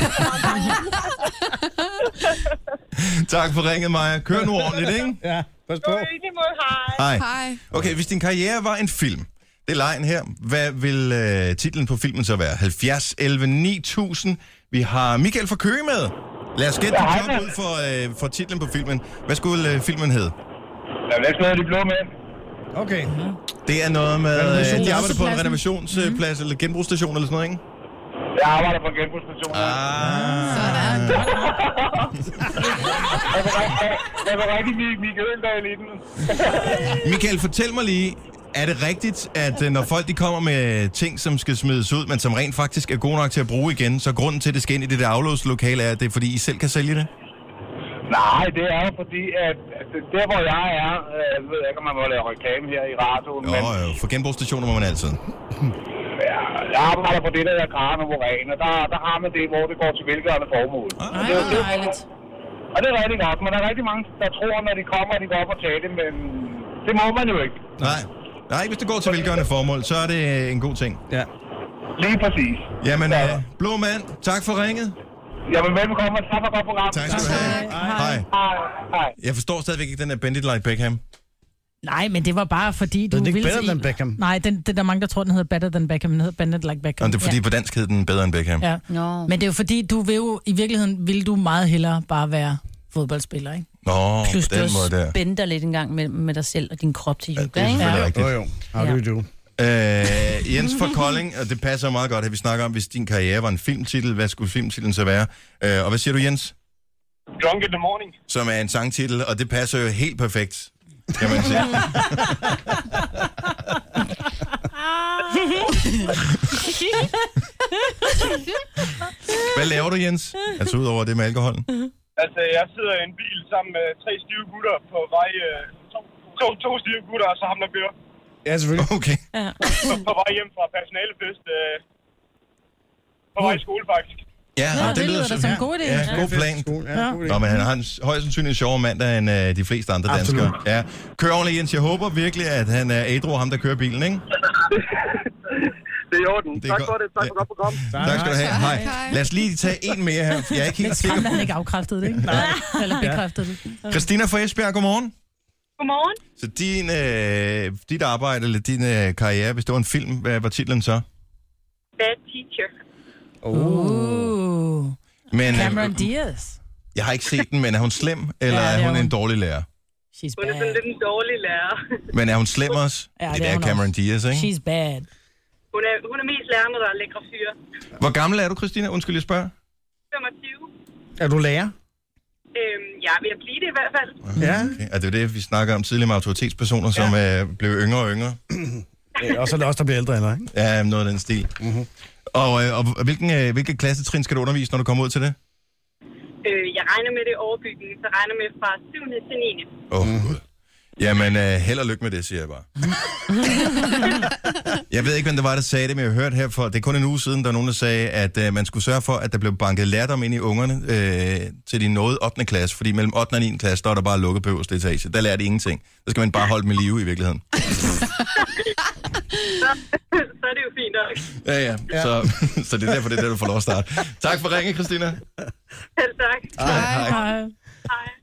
G: Tak for ringet, Maja. Kør nu ordentligt, ikke?
E: Ja, pas
M: Du
E: på.
M: er enig mod hej.
G: Hej.
H: Hej.
G: Okay, hvis din karriere var en film, det er lejen her. Hvad vil øh, titlen på filmen så være? 70, 11, 9000. Vi har Michael fra Køge med. Lad os gætte
N: Ja,
G: ja,
N: hej,
G: job
N: mand.
G: ud for, øh, for titlen på filmen. Hvad skulle øh, filmen hedde?
N: Jamen, lad os smide de blå med.
E: Okay.
G: Det er noget med, øh, de arbejder på
F: Renovationspladsen.
G: en renovationsplads eller genbrugsstation eller sådan noget, ikke?
N: Jeg arbejder på genbrugsstationen.
G: Ah,
N: Jeg var rigtig- Jeg var rigtig Mik- Mik Øgendahl i den.
G: Michael, fortæl mig lige, er det rigtigt, at øh, når folk de kommer med ting, som skal smides ud, men som rent faktisk er gode nok til at bruge igen, så grunden til, at det skal ind i det der aflåslokale, er, at det er, fordi I selv kan sælge det?
N: Nej, det er jo fordi, at altså, der hvor jeg er, øh, jeg ved ikke, om man må lave reklame her i radioen,
G: Jo,
N: men
G: jo, for genbrugsstationer må man altid.
N: ja, jeg arbejder på det, der hedder Grano Moran, og der, der har man det, hvor det går til velgørende formål.
I: Ej,
N: det,
I: hvor dejligt.
N: og det er rigtig godt, men der er rigtig mange, der tror, når de kommer, at de går op og tager det, men det må man jo ikke.
G: Nej. Nej, hvis det går til velgørende formål, så er det øh, en god ting.
E: Ja.
N: Lige præcis.
G: Jamen,
N: Ja.
G: øh, Blå Mand, tak for ringet.
N: Jamen, velkommen, og tak for et godt program.
G: Tak skal du have. Hej.
N: Hej. Hej.
G: Jeg forstår stadigvæk ikke den der Bandit Like Beckham.
F: Nej, men det var bare fordi, du
E: Den er ikke
F: ville
E: better
F: se-
E: than Beckham.
F: Nej, den, det er der mange, der tror, den hedder Better Than Beckham. Den hedder Bandit Like Beckham.
G: Og det er fordi, på dansk hed den bedre end Beckham.
F: Ja. ja.
I: Nå.
F: Men det er jo fordi, du vil jo, i virkeligheden ville du meget hellere bare være fodboldspiller, ikke?
G: Nå,
I: Plus
G: på
I: du
G: den måde
I: også
G: der.
I: spænder lidt en gang med, med dig selv og din krop til yoga,
G: Det er
I: ikke?
G: selvfølgelig
E: Jo,
G: rigtigt.
E: jo. How do you do?
G: Øh, Jens fra Kolding, og det passer jo meget godt, at vi snakker om, hvis din karriere var en filmtitel, hvad skulle filmtitlen så være? Øh, og hvad siger du, Jens?
N: Drunk in the morning.
G: Som er en sangtitel, og det passer jo helt perfekt, kan man
I: (laughs)
G: sige. Hvad laver du, Jens? Altså ud over det med
I: (laughs)
G: alkoholen?
N: Altså, jeg sidder i en bil sammen med tre stive gutter på vej... Øh, to, to, to stive gutter, og så ham, der kører.
E: Ja, selvfølgelig.
G: Okay.
N: På, på vej hjem fra personalefest. Øh, på vej i skole, faktisk.
G: Ja,
F: Nå,
G: og
F: det lyder da
G: så-
F: som en god idé.
G: Ja,
F: Ja.
G: god plan.
F: Ja,
G: Nå, men han har en s- højst sandsynlig en sjovere mandag end øh, de fleste andre
E: Absolut.
G: danskere. Ja. Kør ordentligt, Jens. Jeg håber virkelig, at han er ædru, ham der kører bilen, ikke?
O: Det er i orden.
G: Det er
O: tak
G: godt.
O: for det. Tak for godt program.
G: Tak skal du have. Hej. Lad os lige tage en mere her. for Jeg er ikke helt
F: Mens
G: sikker.
F: ham, han ikke afkræftede det, ikke? Nej. Eller bekræftede det.
G: Christina fra Esbjerg, godmorgen.
K: Godmorgen.
G: Så din, øh, dit arbejde eller din øh, karriere, hvis det var en film, hvad var titlen så?
K: Bad teacher.
F: Uh.
G: Men, øh,
F: Cameron Diaz.
G: jeg har ikke set den, men er hun slem, eller
F: Ja,
G: ja,
F: det
G: er
F: er
G: hun en
F: hun.
G: dårlig lærer?
F: She's
K: Hun er sådan
F: bad.
K: lidt en dårlig lærer.
G: Men er hun slem også?
F: Ja,
G: det,
F: det er
G: er
F: hun
G: Cameron Diaz, ikke?
F: She's bad.
K: Hun er, hun er mest lærerne, der er lækre fyre.
G: Hvor gammel er du, Christina? Undskyld, jeg spørger.
K: 25.
E: Er du lærer?
K: Øhm, jeg er ved at blive det i hvert fald.
E: Ja.
G: Okay. Er det jo det, vi snakker om tidligere med autoritetspersoner, som øh, blev yngre og yngre?
E: Øh, Og så er det også der bliver ældre, eller ikke?
G: Ja, noget af den stil. Mm-hmm. Og, øh, og hvilken, øh, hvilke klassetrin skal du undervise, når du kommer ud til det?
K: Øh, jeg regner med det overbygning, så regner med fra 7. til 9.
G: Åh, oh, mm-hmm. Gud. Jamen, øh, held og lykke med det, siger jeg bare. jeg ved ikke, hvem det var, der sagde det, men jeg hørte her for, det er kun en uge siden, der var nogen, der sagde, at øh, man skulle sørge for, at der blev banket lærdom ind i ungerne øh, til de nåede 8. klasse, fordi mellem 8. og 9. klasse, der er der bare lukket på øverste etage. Der lærer de ingenting. Der skal man bare holde dem i live i virkeligheden.
K: Så, så er det jo fint nok.
G: Ja, ja. ja. Så, (laughs) så det er derfor, det er der, du får lov at starte. Tak for ringen, Christina. (laughs)
K: Selv tak.
G: Hej.
F: Hej.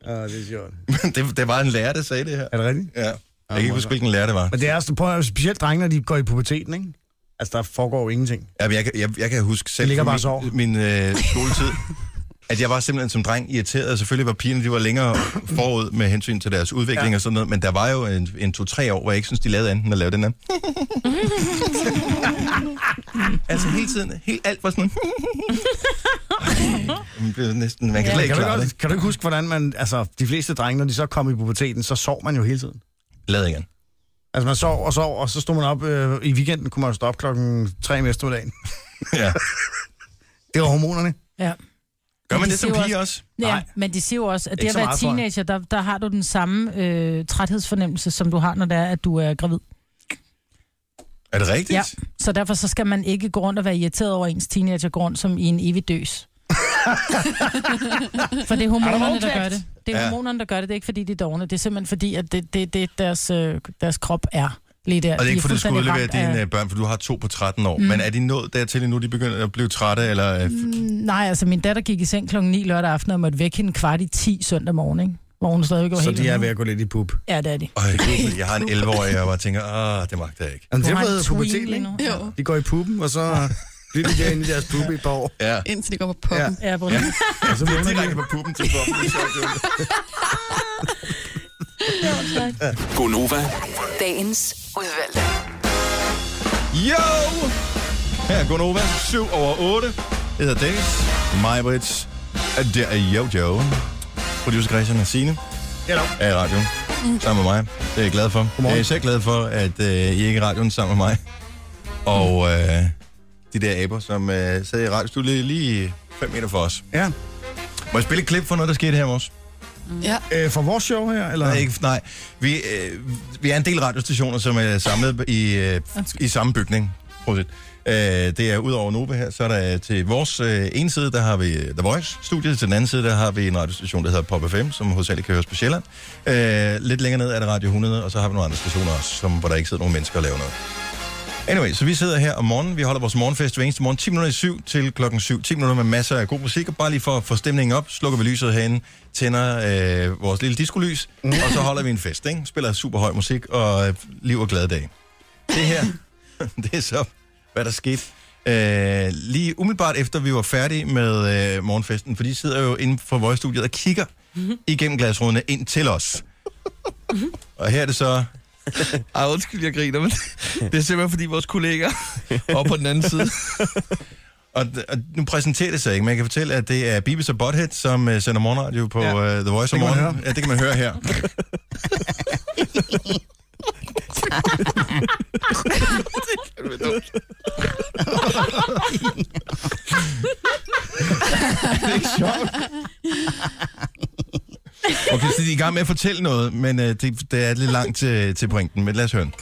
E: Ah, det er sjovt.
G: det, det var en lærer, der sagde det her.
E: Er det rigtigt?
G: Ja. Jeg kan ikke huske, hvilken lærer det var.
E: Men det er også, prøv at høre, specielt drenge, når de går i puberteten, ikke? Altså, der foregår jo ingenting.
G: Ja, men jeg, kan- jeg, jeg kan huske selv
E: Det ligger
G: fra
E: bare
G: min,
E: så over.
G: min øh, skoletid, at jeg var simpelthen som dreng irriteret, og selvfølgelig var pigerne, de var længere forud med hensyn til deres udvikling ja. og sådan noget, men der var jo en, en to-tre år, hvor jeg ikke synes, de lavede andet end at lave
E: (laughs)
G: den her. altså hele tiden, helt alt var
E: (laughs)
G: sådan Man bliver næsten, man kan slet ikke
E: Kan du, ikke
G: klare det.
E: også, kan du ikke huske, hvordan man... Altså, de fleste drenge, når de så kom i puberteten, så sov man jo hele tiden.
G: Lad igen.
E: Altså, man sov og sov, og så stod man op øh, i weekenden, kunne man jo stå op klokken 3 om eftermiddagen.
G: Ja.
E: Det var hormonerne.
F: Ja.
G: Gør man
F: de
G: det som
F: siger jo
G: pige også?
F: Ja,
E: Nej.
F: men de siger jo også, at det
E: Ikke
F: at
E: så
F: være
E: meget for hende.
F: teenager, der, der har du den samme øh, træthedsfornemmelse, som du har, når det er, at du er gravid.
G: Er det rigtigt?
F: Ja, så derfor så skal man ikke gå rundt og være irriteret over ens teenager går rundt som i en evig døs. For det er hormonerne, der gør det. Det er
G: Ja.
F: hormonerne, der gør det. Det er ikke fordi, de er dogne. Det er simpelthen fordi, at det er det, det, deres, øh, deres krop er. Lige der.
G: Og det Altså, er ikke, fordi du skal
F: fuldstændig
G: udlevere
F: ramt af-
G: dine øh, børn, for du har to på 13 år. Mm.
F: Mm.
G: Men er de nået dertil endnu, de begynder at blive trætte? Eller, øh,
F: Mm, Nej, altså min datter gik i seng klokken 9 lørdag aften og måtte vække hende kvart i 10 søndag morgen, ikke? Hvor hun stadigvæk var
E: Så
F: helt
E: de er
F: vågen.
E: ved at gå lidt i pup.
F: Ja, det er de.
G: Øj, gud, jeg har (laughs) en 11-årig, og jeg bare tænker, ah, det magter jeg ikke.
E: Jamen, Altså,
F: Hun
E: det
F: har
E: har
F: en
E: været
F: tween
E: puberteten,
F: lige
E: ikke?
F: nu.
H: Jo,
E: De går i puppen, og så
G: (laughs)
E: bliver de derinde i deres puppe i et par år.
G: Ja.
H: indtil de går på poppen.
F: Ja,
G: Ja.
F: ja.
E: Og så vågner de.
G: på puppen til poppen.
C: Gonova,
B: Dagens udvalgte.
G: Jo! Her er Gunova, 7 over 8. Jeg hedder Dennis, mig, Brits, og der er Jojo. Producer Christian og Signe
E: Hello.
G: er i radioen sammen med mig. Det er jeg glad for. Godmorgen. Jeg er især glad for, at øh, I ikke er i radioen sammen med mig. Og øh, de der aber, som øh, sad i radiostudiet lige 5 meter for os.
E: Ja.
G: Må jeg spille et klip for noget, der skete her i morges?
H: Ja.
E: Øh, for vores show her, eller?
G: Nej, ikke, nej. Vi, øh, vi er en del radiostationer, som er samlet i, øh, i samme bygning. Prøv at se. øh, det er ud over Nova her, så er der til vores øh, ene side, der har vi The Voice-studiet, til den anden side, der har vi en radiostation, der hedder Pop FM, som hovedsageligt kan høres på Sjælland. Øh, lidt længere ned er der Radio 100, og så har vi nogle andre stationer også, som, hvor der ikke sidder nogen mennesker og laver noget. Anyway, så vi sidder her om morgenen. Vi holder vores morgenfest hver eneste morgen 10 minutter i 7 til klokken 7. 10 minutter med masser af god musik, og bare lige for at få stemningen op, slukker vi lyset herinde, tænder øh, vores lille diskolys, og så holder vi en fest, ikke? Spiller super høj musik og øh, liv og glade dag. Det her, (laughs) det er så, hvad der skete. Øh, lige umiddelbart efter vi var færdige med øh, morgenfesten, for de sidder jo inde for vores studiet og kigger igennem glasrudene ind til os. Og her er det så
P: Ej, undskyld, jeg griner, men (laughs) det er simpelthen fordi vores kolleger oppe på den anden side.
G: Og, og nu præsenterer det sig ikke, men jeg kan fortælle, at det er Bibis og Butthead, som uh, sender morgenradio på ja. uh, The Voice om
E: Det kan man
G: morgenen. Ja, det kan man høre her. det er ikke sjovt. Okay, så de er i gang med at fortælle noget, men uh, det, det er lidt langt til, til pointen, men lad os høre den.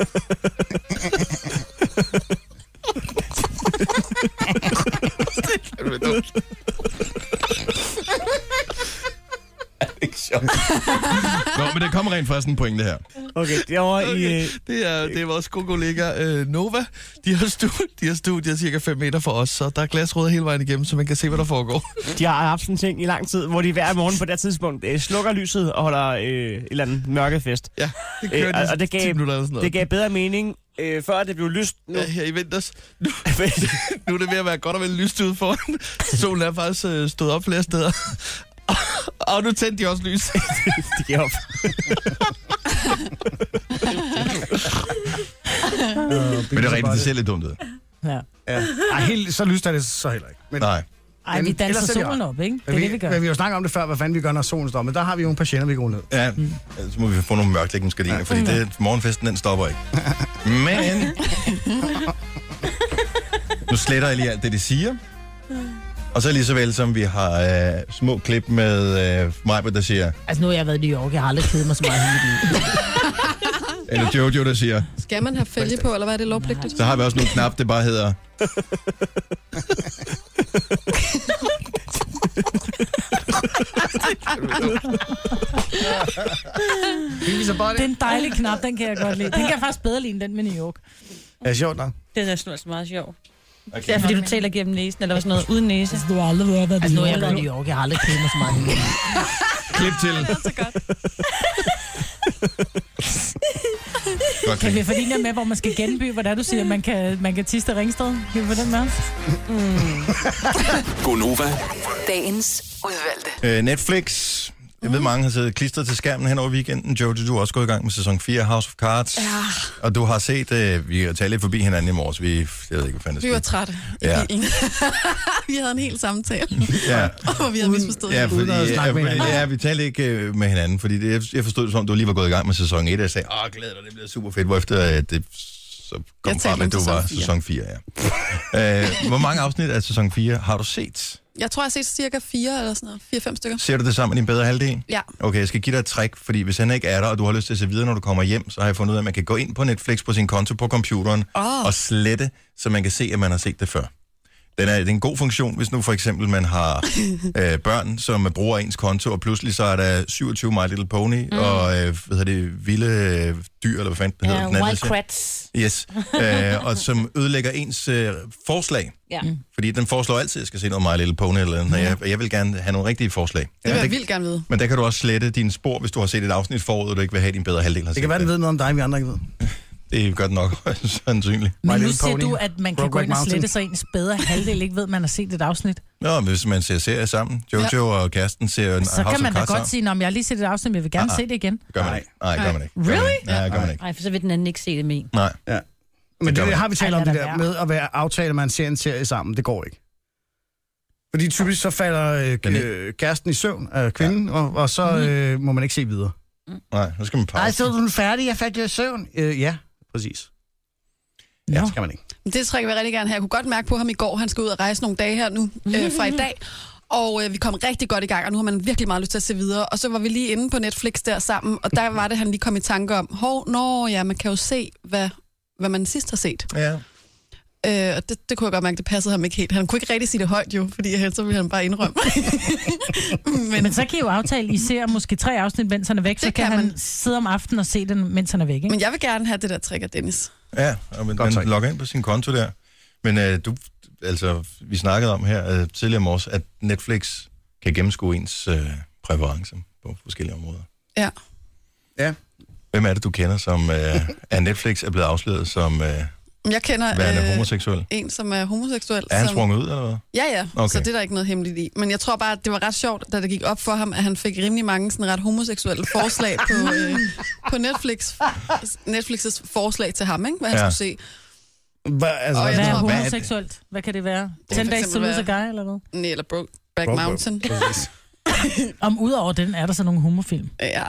G: ikke sjovt. Nå, men det kommer rent faktisk en pointe her.
E: Okay, det var i...
P: Okay.
E: øh,
P: Det er, det er vores gode kollega øh, Nova. De har, stu, de har studier cirka 5 meter fra os, så der er glasruder hele vejen igennem, så man kan se, hvad der foregår.
Q: (laughs) De har haft sådan en ting i lang tid, hvor de hver morgen på det her tidspunkt øh, slukker lyset og holder øh, et eller andet mørkefest.
P: Ja, det kører de
Q: og, og det
P: 10
Q: gav,
P: minutter eller sådan noget.
Q: det gav bedre mening, øh, før det blev lyst nu. Ja,
P: her i vinters.
Q: (laughs)
P: Nu, (laughs) nu er det ved at være godt og vel lyst ud foran. Solen er faktisk øh, stået op flere steder. (laughs) Og, og nu tændte de også lys.
Q: de giver op.
G: Men det er rigtigt, det ser lidt dumt ud.
F: Ja.
E: Ja. Ej, helt, så lyst er det så heller ikke. Men,
G: Nej.
F: Ej, vi danser solen op, ikke? Det er
E: men
F: det, vi gør.
E: Men vi har jo snakket om det før, hvad fanden vi gør, når solen står. Men der har vi jo nogle patienter, vi går ned.
G: Ja, så må vi få nogle mørklægningsgardiner, fordi det, morgenfesten den stopper ikke. Men nu sletter jeg lige alt det, de siger. Og så lige så vel som vi har øh, små klip med øh, Majbert, der siger,
F: Altså, nu har jeg været i New York. Jeg har aldrig kedet mig så meget i mit liv.
G: eller Jojo, der siger,
H: Skal man have fælge på, eller hvad er det lovpligtigt?
G: så har vi også nogle knap, det bare hedder...
F: Det er ligesom- en dejlig knap, (laughs) den kan jeg godt lide. Den kan jeg faktisk bedre lide end den med New York.
E: Det er sjovt nok.
I: Det er sådan altså meget sjovt. Okay. Det er, fordi du taler gennem næsen, eller sådan noget uden næse.
F: Du har aldrig været
I: Altså, nu har jeg været i
F: New York. Jeg har aldrig kedet mig så meget i mit liv.
G: Klip til. Godt
F: Kan
G: klip.
F: vi få din her med, hvor man skal genby, hvad det er, du siger, man kan, man kan tiste Ringsted? Kan vi få den med?
C: Gonova.
B: Dagens udvalgte.
G: Øh, Netflix. Jeg ved, mange har siddet klistret til skærmen hen over weekenden. Jojo, du er også gået i gang med sæson 4 af House of Cards. Ja. Og du har set, øh, vi har talt lidt forbi hinanden i morges. Vi, jeg ved ikke, hvad fanden der
H: Vi var
G: skete.
H: trætte.
G: Ja.
H: I bilen. (laughs) vi havde en hel samtale, (laughs)
G: Ja.
H: hvor vi havde misforstået
G: Ja,
H: hinanden.
G: fordi, ja, ja, vi talte ikke øh, med hinanden, fordi det, jeg- jeg forstod det som om, du lige var gået i gang med sæson 1, og jeg sagde, åh, glæder dig, det bliver super fedt, hvorefter øh, det så kom
H: talte
G: frem,
H: om
G: at du var
H: sæson fire.
G: sæson 4. Ja. øh, hvor mange afsnit af sæson 4 har du set?
H: Jeg tror, jeg har set cirka fire eller sådan noget. Fire-fem stykker.
G: Ser du det sammen med din bedre halvdel?
H: Ja.
G: Okay, jeg skal give dig et trick, fordi hvis han ikke er der, og du har lyst til at se videre, når du kommer hjem, så har jeg fundet ud af, at man kan gå ind på Netflix på sin konto på computeren
H: Åh.
G: og slette, så man kan se, at man har set det før. Den er, det er en god funktion, hvis nu for eksempel man
H: (laughs)
G: har øh, børn, som bruger ens konto, og pludselig så er der 27 My Little Pony, mm. og øh, hvad hedder det, vilde øh, dyr, eller hvad fanden det hedder. den anden serie.
I: Crats.
G: Yes, øh, og som ødelægger ens øh, forslag.
I: Ja.
G: Fordi den foreslår altid, at jeg skal se noget My Little Pony, eller andet. Jeg, jeg vil gerne have nogle rigtige forslag.
H: Det vil
G: Men
H: jeg vildt gerne vide.
G: men der kan du også slette dine spor, hvis du har set et afsnit forud, og du ikke vil have at din bedre halvdel. Har
E: Det
G: set
E: kan være, den ved noget om dig, vi andre ikke ved.
G: Det gør den nok, (laughs) sandsynligt.
F: Men nu siger du, at man kan
E: Brokeback
F: gå ind og
E: Mountain.
F: slette sig ens bedre halvdel, ikke ved, at man har set et afsnit.
G: Nå, men hvis man ser serier sammen, Jojo
F: Ja.
G: ja. og kæresten ser en
F: Så
G: House
F: kan man
G: of
F: da godt
G: Cards sammen.
F: sige, at jeg har lige set et afsnit, men jeg vil gerne
G: Ah,
F: se det igen.
G: Gør man ikke. Nej, gør man ikke. Gør man
F: Really?
G: ikke. Nej, gør man ikke.
I: Nej, for så vil den anden ikke se det med en.
G: Nej.
E: Ja.
G: gør
E: Men det,
G: man
E: det har
G: ikke.
E: vi talt
I: Ej,
E: om,
I: lad
E: det
I: da
E: der med at være aftale, at man ser en serie sammen. Det går ikke. Fordi typisk så falder øh,
G: Den er-
E: øh, kæresten i søvn af kvinden, og, og så øh, må man ikke se videre.
G: Nej, nu skal man pause.
E: Nej, så er du færdig, jeg faldt i søvn. Øh, ja, præcis.
F: Ja,
E: det skal man ikke.
H: Men Det trækker jeg rigtig gerne her. Jeg kunne godt mærke på ham i går, han skal ud og rejse nogle dage her nu øh, fra i dag. Og øh, vi kom rigtig godt i gang, og nu har man virkelig meget lyst til at se videre. Og så var vi lige inde på Netflix der sammen, og der var det, han lige kom i tanke om, hov, nå ja, man kan jo se, hvad, hvad man sidst har set.
G: Ja.
H: Øh, og det, det kunne jeg godt mærke, det passede ham ikke helt. Han kunne ikke rigtig sige det højt jo, fordi ellers så ville han bare indrømme. (laughs)
F: Men, men så kan I jo aftale, I ser måske tre afsnit, mens han er væk, så
H: Det
F: kan,
H: kan
F: han
H: man.
F: sidde om aftenen og se den, mens han er væk. Ikke?
H: Men jeg vil gerne have det der trick af Dennis.
G: Ja, og man, man logger ind på sin konto der. Men øh, du, altså, vi snakkede om her øh, tidligere om os, at Netflix kan gennemskue ens øh, præferencer på forskellige områder.
H: Ja.
E: Ja.
G: Hvem er det, du kender, som øh, af Netflix er blevet afsløret som øh,
H: Men Jeg kender øh,
E: Øh,
G: værende homoseksuel?
H: en, som er homoseksuel.
G: Er han
H: som-
G: sprunget ud, eller hvad?
H: Ja, ja, okay.
G: Okay.
H: så det er der ikke noget hemmeligt i. Men jeg tror bare, at det var ret sjovt, da det gik op for ham, at han fik rimelig mange sådan ret homoseksuelle forslag på,
G: (laughs)
H: øh, på Netflix. Netflix's forslag til ham, ikke? hvad han
G: Ja.
H: ja. skulle se.
E: Hva, altså,
H: Og jeg
F: Hvad er
H: tror, hvad er det?
F: homoseksuelt? Hvad kan det være?
H: kan
F: 10
H: for
F: days to
H: eksempel
F: lose a
H: være-
F: guy, eller hvad?
H: Næ, Eller Brokeback
E: Brokeback,
H: Mountain.
F: Om udover den, er der så nogle homofilm?
H: Ja,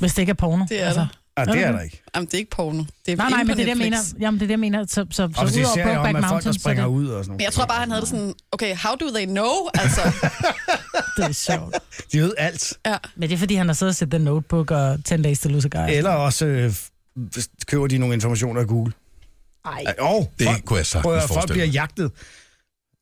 F: Hvis det ikke er porno.
H: det er
F: altså.
H: der.
E: Ah, det er der ikke.
H: Jamen, det er ikke porno. Det er
F: Nej, nej,
H: inde
F: men
H: på
F: det er det, jeg mener.
H: Netflix.
F: Jamen, det er det, jeg mener. Så, så, så
E: Og hvis det er
F: udover
E: serier om,
F: Brokeback
E: at folk, der
F: Mountain, så er
E: springer
F: det,
E: ud og sådan
H: Men jeg tror bare, han havde det sådan, okay, how do they know?
G: (laughs)
H: Altså,
F: det er sjovt.
E: noget. De ved alt.
H: ja.
F: Men det er, fordi han har siddet og set The Notebook og 10 Days to Lose a Guy.
E: Eller også øh, f- køber de nogle informationer af Google.
F: Ej.
E: Ej, og
G: Det
E: folk,
G: kunne jeg sagtens
E: prøv at høre, folk
G: forestille
E: bliver
G: mig.
E: jagtet.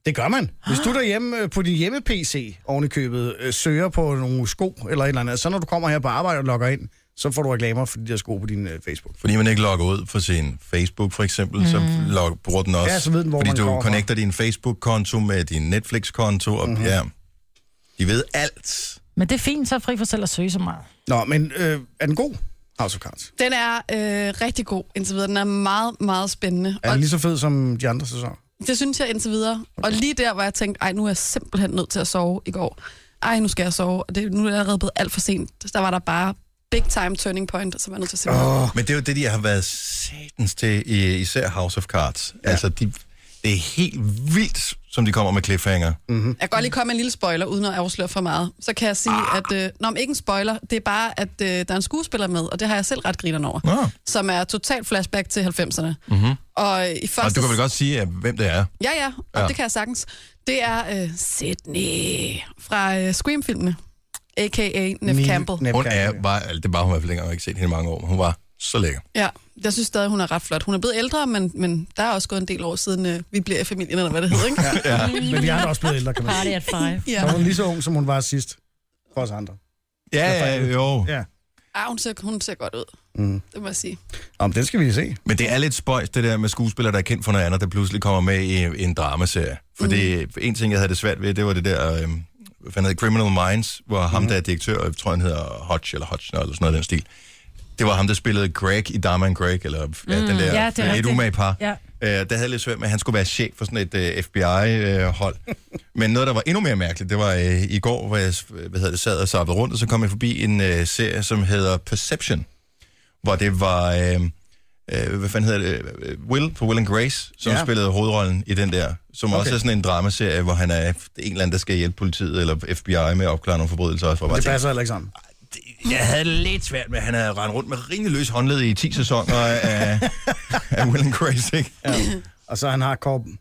E: Det gør man. Hvis du derhjemme øh, på din hjemme-PC oven i købet øh, søger på nogle sko eller et eller andet, så når du kommer her på arbejde og logger ind, så får du reklamer for de der sko på din øh, Facebook.
G: Fordi man ikke logger ud for sin Facebook, for eksempel, mm. så log, bruger den også.
E: Ja, så ved den, hvor
G: fordi
E: man
G: du
E: kommer fra. Mhm.
G: connecter din Facebook-konto med din Netflix-konto, og mm-hmm. ja, de ved alt.
F: Men det er fint, så er fri for selv at søge så meget.
E: Nå, men øh, er den god, House of Cards?
H: Den er øh, rigtig god indtil videre. Den er meget, meget spændende.
E: Er
H: Og
E: den lige så fed som de andre sæsoner?
H: det synes jeg indtil videre. Og lige der, hvor jeg tænkte, ej, nu er jeg simpelthen nødt til at sove i går. Ej, nu skal jeg sove. Og det, nu er det allerede blevet alt for sent. Der var der bare big time turning point, som jeg er nødt til at se.
G: Oh. Men det er jo det, de har været satans til, i- især House of Cards. Ja. Altså, de, det er helt vildt, som de kommer med cliffhanger.
E: Mm.
G: Mm-hmm.
H: Jeg kan godt lige komme med en lille spoiler, uden at afsløre for meget. Så kan jeg sige, at... Øh, nå, men ikke en spoiler. Det er bare, at øh, der er en skuespiller med, og det har jeg selv ret grineren over.
G: Nå.
H: Som er totalt flashback til 90'erne.
G: Mm-hmm.
H: Og øh, i første...
G: Og du kan vel godt sige, at, hvem det er.
H: Ja, ja, og
G: Ja.
H: ja. det kan jeg sagtens. Det er øh, Sydney fra øh, Scream-filmene, a.k.a. Neff Campbell.
G: Hun er, var, altså, det var hun i hvert fald ikke, jeg har ikke set hende i mange år, men hun var så lækker.
H: Ja, jeg synes stadig, hun er ret flot. Hun er blevet ældre, men, men der er også gået en del år siden, øh, vi bliver i familien, eller hvad det hedder, ikke?
E: Ja. Men vi andre er også blevet ældre, kan man
H: Party
E: sige.
H: at five. Ja.
E: Så er hun lige så ung, som hun var sidst. For os andre.
G: Ja, ja, jo.
E: Ja.
H: Ah, hun, ser, hun ser godt ud,
G: Mm.
H: det må jeg sige.
E: Om den skal vi se.
G: Men det er lidt spøjs, det der med skuespillere, der er kendt for noget andet, der pludselig kommer med i en dramaserie. For det,
F: Mm.
G: en ting, jeg havde det svært ved, det var det der, øh, hvad fanden hed det, Criminal Minds, hvor
F: Mm.
G: ham, der er direktør, jeg tror han hedder Hodge, eller Hodge, eller sådan noget i den stil. Det var ham, der spillede Greg i Dharma and Greg, eller ja, den der,
F: Mm, ja,
G: ja,
F: det er
G: et
F: rigtigt.
G: umage par.
F: Ja.
G: Øh, der havde jeg lidt svært med, at han skulle være chef for sådan et øh,
F: (laughs)
G: FBI-hold. Men noget, der var endnu mere mærkeligt, det var øh, i går, hvor jeg hvad hedder det, sad og sappede rundt, og så kom jeg forbi en øh, serie, som hedder Perception, hvor det var, øh, øh, hvad fanden hedder det, øh, Will fra Will and Grace, som
E: Ja.
G: ja. spillede hovedrollen i den der, som okay. også
E: Okay.
G: er sådan en dramaserie, hvor han er en eller anden, der skal hjælpe politiet eller FBI med at opklare nogle forbrydelser. Også, hvor jeg
E: Det
G: bare
E: passer heller ikke sammen.
G: tænkte, Jeg havde det lidt svært med, at han havde rendt rundt med rimelig løs håndled i 10 sæsoner af, af Will and Grace, ikke?
E: Ja. Og så han har korben.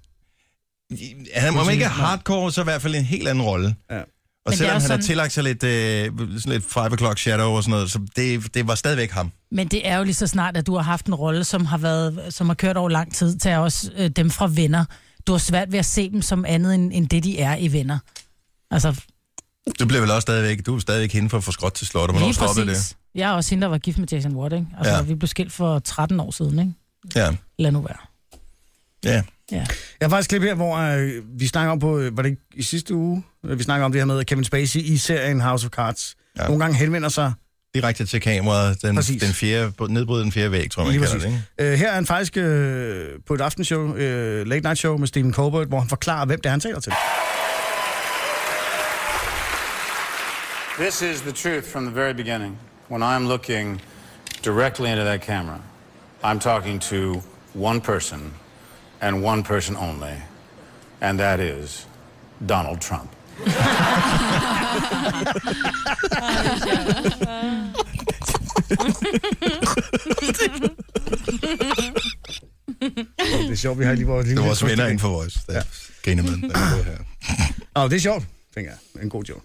G: Han må om ikke er hardcore, så i hvert fald en helt anden rolle.
E: Ja.
G: Og
F: Men det er
G: selvom
F: jo
G: han
F: sådan-
G: har tillagt sig lidt, øh, sådan lidt 5 o'clock shadow og sådan noget, så det, det var stadigvæk ham.
F: Men det er jo lige så snart, at du har haft en rolle, som har, været, som har kørt over lang tid, til også øh, dem fra venner. Du har svært ved at se dem som andet, end, end det de er i venner. Altså,
G: Du bliver vel også stadigvæk, du er stadigvæk hende for, for skråt til slot, og hvornår stoppede det?
F: Jeg er også hende, der var gift med Jason Watt, ikke? Altså, ja.
G: Ja.
F: vi blev skilt for 13 år siden, ikke?
G: Ja.
F: Lad nu være.
G: Ja.
F: Ja.
E: Jeg har faktisk klip her, hvor øh, vi snakker om på, øh, var det ikke i sidste uge, øh, vi snakker om det her med, at Kevin Spacey i serien House of Cards ja. nogle gange henvender sig.
G: Direkte til kameraet, den,
E: Præcis.
G: den fjerde, nedbryde den fjerde væg, tror jeg,
E: Lige
G: man kalder det,
E: præcis.
G: ikke?
E: Øh, her er han faktisk øh, på et aftenshow, øh, late night show med Stephen Colbert, hvor han forklarer, hvem det er, han taler til.
R: This is the truth from the very beginning. When I'm looking directly into that camera, I'm talking to one person and one person only, and that is Donald Trump.
E: Det er sjovt, vi har lige vores lille...
G: Det var også venner inden for Voice, der ja. griner med, den, der er på her.
E: Nå, det er sjovt, tænker jeg. En god joke.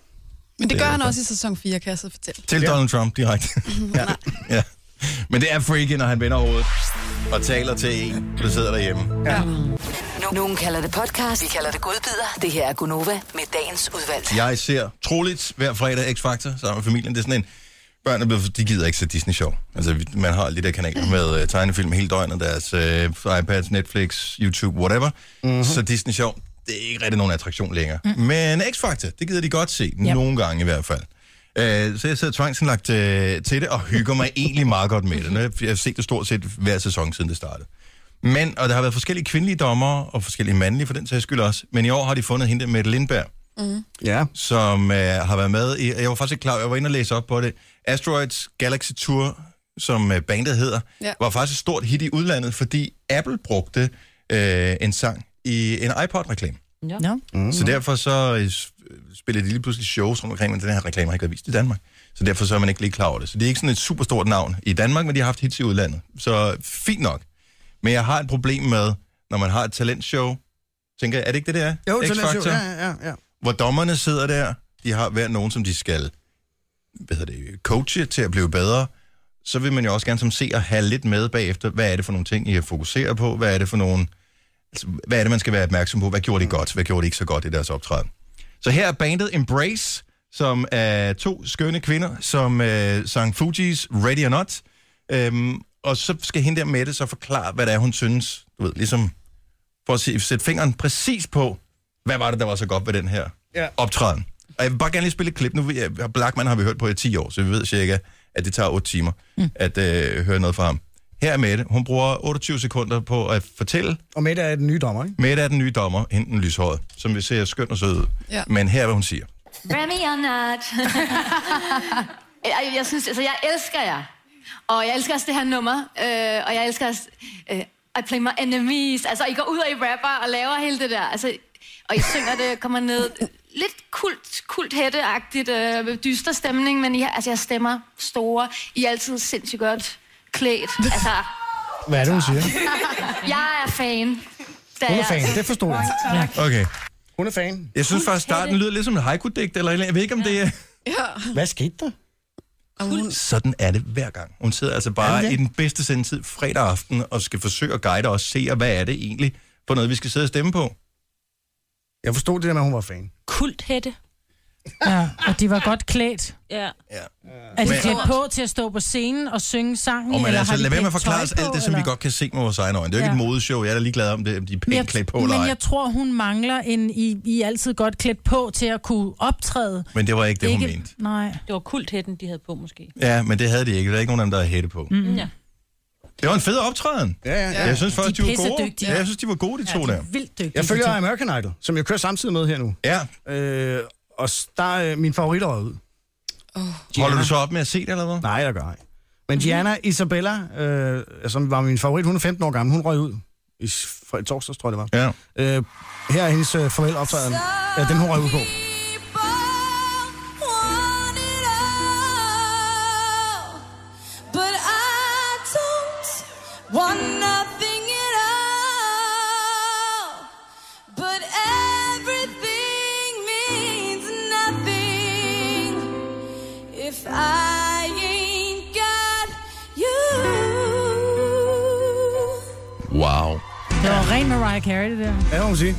H: Men det
G: Det
H: gør
G: er
H: han
G: det.
H: også i sæson 4, kan jeg så fortælle.
G: Til ja. Donald Trump
E: (laughs)
G: direkte. ja. ja. Men det er freaky, når han vender hovedet og taler til en, der sidder derhjemme.
E: Ja.
B: Nogen kalder det podcast, vi kalder det godbider. Det her er Gunova med dagens udvalgte.
G: Jeg ser troligt hver fredag X-Factor sammen med familien. Det er sådan en... Børn er blevet, de gider ikke se Disney Show. Altså, vi- man har alle de der kanaler med øh, tegnefilm hele døgnet, deres øh, iPads, Netflix, YouTube, whatever. Mm-hmm. Så Disney Show, det er ikke rigtig nogen attraktion længere. Mm. Men X-Factor, det gider de godt se. Yep. Nogle gange i hvert fald. Øh, så jeg sidder tvangsindlagt øh, til det, og hygger mig egentlig meget godt med det. Nu har Jeg jeg har set det stort set hver sæson, siden det startede. Men, og der har været forskellige kvindelige dommer, og forskellige mandlige for den sags skyld også. Men i år har de fundet hende der, Mette Lindberg,
S: Mm.
E: Ja.
G: som øh, har været med i, jeg var faktisk ikke klar, jeg var inde og læse op på det, Asteroids Galaxy Tour, som øh, bandet hedder,
S: Ja.
G: ja. var faktisk et stort hit i udlandet, fordi Apple brugte øh, en sang i en iPod-reklame.
F: Ja. No.
G: Mm-hmm. Så derfor så øh, s- øh, spiller de lige pludselig shows rundt omkring, men den her reklame har ikke været vist i Danmark. Så derfor så er man ikke lige klar over det. Så det er ikke sådan et super stort navn i Danmark, men de har haft hits i udlandet. Så fint nok. Men jeg har et problem med, når man har et talentshow, tænker jeg, er det ikke det, det er?
E: Jo,
G: X
E: til den
G: Factor?
E: show. Ja, ja, ja.
G: hvor dommerne sidder der, de har hver nogen, som de skal hvad hedder det, coache til at blive bedre, så vil man jo også gerne som ser have lidt med bagefter, hvad er det for nogle ting, I fokuserer på, hvad er det for nogle hvad er det, man skal være opmærksom på? Hvad gjorde de godt? Hvad gjorde de ikke så godt i deres optræden? Så her er bandet Embrace, som er to skønne kvinder, som øh, sang Fuji's Ready or Not. Øhm, og så skal hende der Mette så forklare, hvad det er, hun synes. Du ved, ligesom for at se- sætte fingeren præcis på, hvad var det, der var så godt ved den her
T: Ja.
G: optræden. Og jeg vil bare gerne lige spille et klip. Nu ved jeg, Blackman har vi hørt på i 10 år, så vi ved cirka, at det tager 8 timer mm. at øh, høre noget fra ham. Her er Mette. Hun bruger 28 sekunder på at fortælle.
E: Og Mette er den nye dommer, ikke?
G: Mette er den nye dommer, enten lyshåret, som vi ser skøn og sød ud.
S: Ja.
G: Men her er, hvad hun siger.
S: Remy or not. (laughs) jeg, jeg synes, altså, jeg elsker jer. Og jeg elsker også det her nummer. Øh, og jeg elsker også... Øh, I play my enemies. Altså, I går ud og I rapper og laver hele det der. Altså, og I synger det, kommer ned. Lidt kult, kult hætteagtigt, øh, dyster stemning, men I, har- altså, jeg stemmer store. I er altid sindssygt godt klædt. Altså,
E: Hvad er det, hun siger?
S: jeg er fan. Det
E: Hun er
S: jeg
E: fan,
S: altså.
E: det forstod jeg.
G: Okay.
E: Hun er fan.
G: Jeg synes faktisk, starten lyder lidt som en haiku-digt, eller et eller andet. jeg ved ikke, om det er...
H: Ja.
E: Hvad skete der?
G: Sådan er det hver gang. Hun sidder altså bare i den bedste sendetid fredag aften og skal forsøge at guide os, se, hvad er det egentlig for noget, vi skal sidde og stemme på.
E: Jeg forstod det der med, at hun var fan.
I: Kulthætte.
F: Ja, og de var godt klædt.
I: Ja.
F: Er de
G: Men-
F: klædt på til at stå på scenen og synge sangen?
G: Og men
F: eller
G: altså,
F: har de
G: lad være med at
F: pænt
G: forklare
F: tøj
G: os
F: på,
G: alt det, som
F: eller?
G: vi godt kan se med vores egne øjne. Det er jo ikke
F: Ja.
G: et modeshow. Jeg er da ligeglad om, det, om de er
F: Men
G: pænt klædt på eller
F: men
G: ej.
F: jeg tror, hun mangler en I, I er altid godt klædt på til at kunne optræde.
G: Men det var ikke det, hun mente.
F: Nej.
I: Det var kulthætten, de havde på, måske.
G: Ja, men det havde de ikke. Der er ikke nogen af dem, der havde hætte på.
I: Mm. Ja.
G: Det var en fed optræden.
E: Ja, ja, ja.
G: Jeg synes faktisk,
E: De
G: de,
E: er
G: de var gode.
E: pissedygtige.
G: Ja, jeg synes, de var gode, de to der.
F: Vildt dygtige.
E: Jeg følger American Idol, som jeg kører samtidig med her nu.
G: Ja.
E: Øh, og s- der er min favorit røget ud. Oh.
G: Holder du så op med at se det, eller hvad?
E: Nej, jeg gør ikke. Men Gianna Isabella, øh, som var min favorit, hun er 15 år gammel, hun røg ud. I s- for, i torsdags, tror jeg, det
G: var.
E: Ja. Øh, her er hendes øh, farveloptræden. Ja, den hun røg ud på.
D: But I don't want nothing at all. But everything means nothing if I ain't got you.
G: Wow.
F: Det var ren Mariah Carey, det der.
E: Ja, må man sige.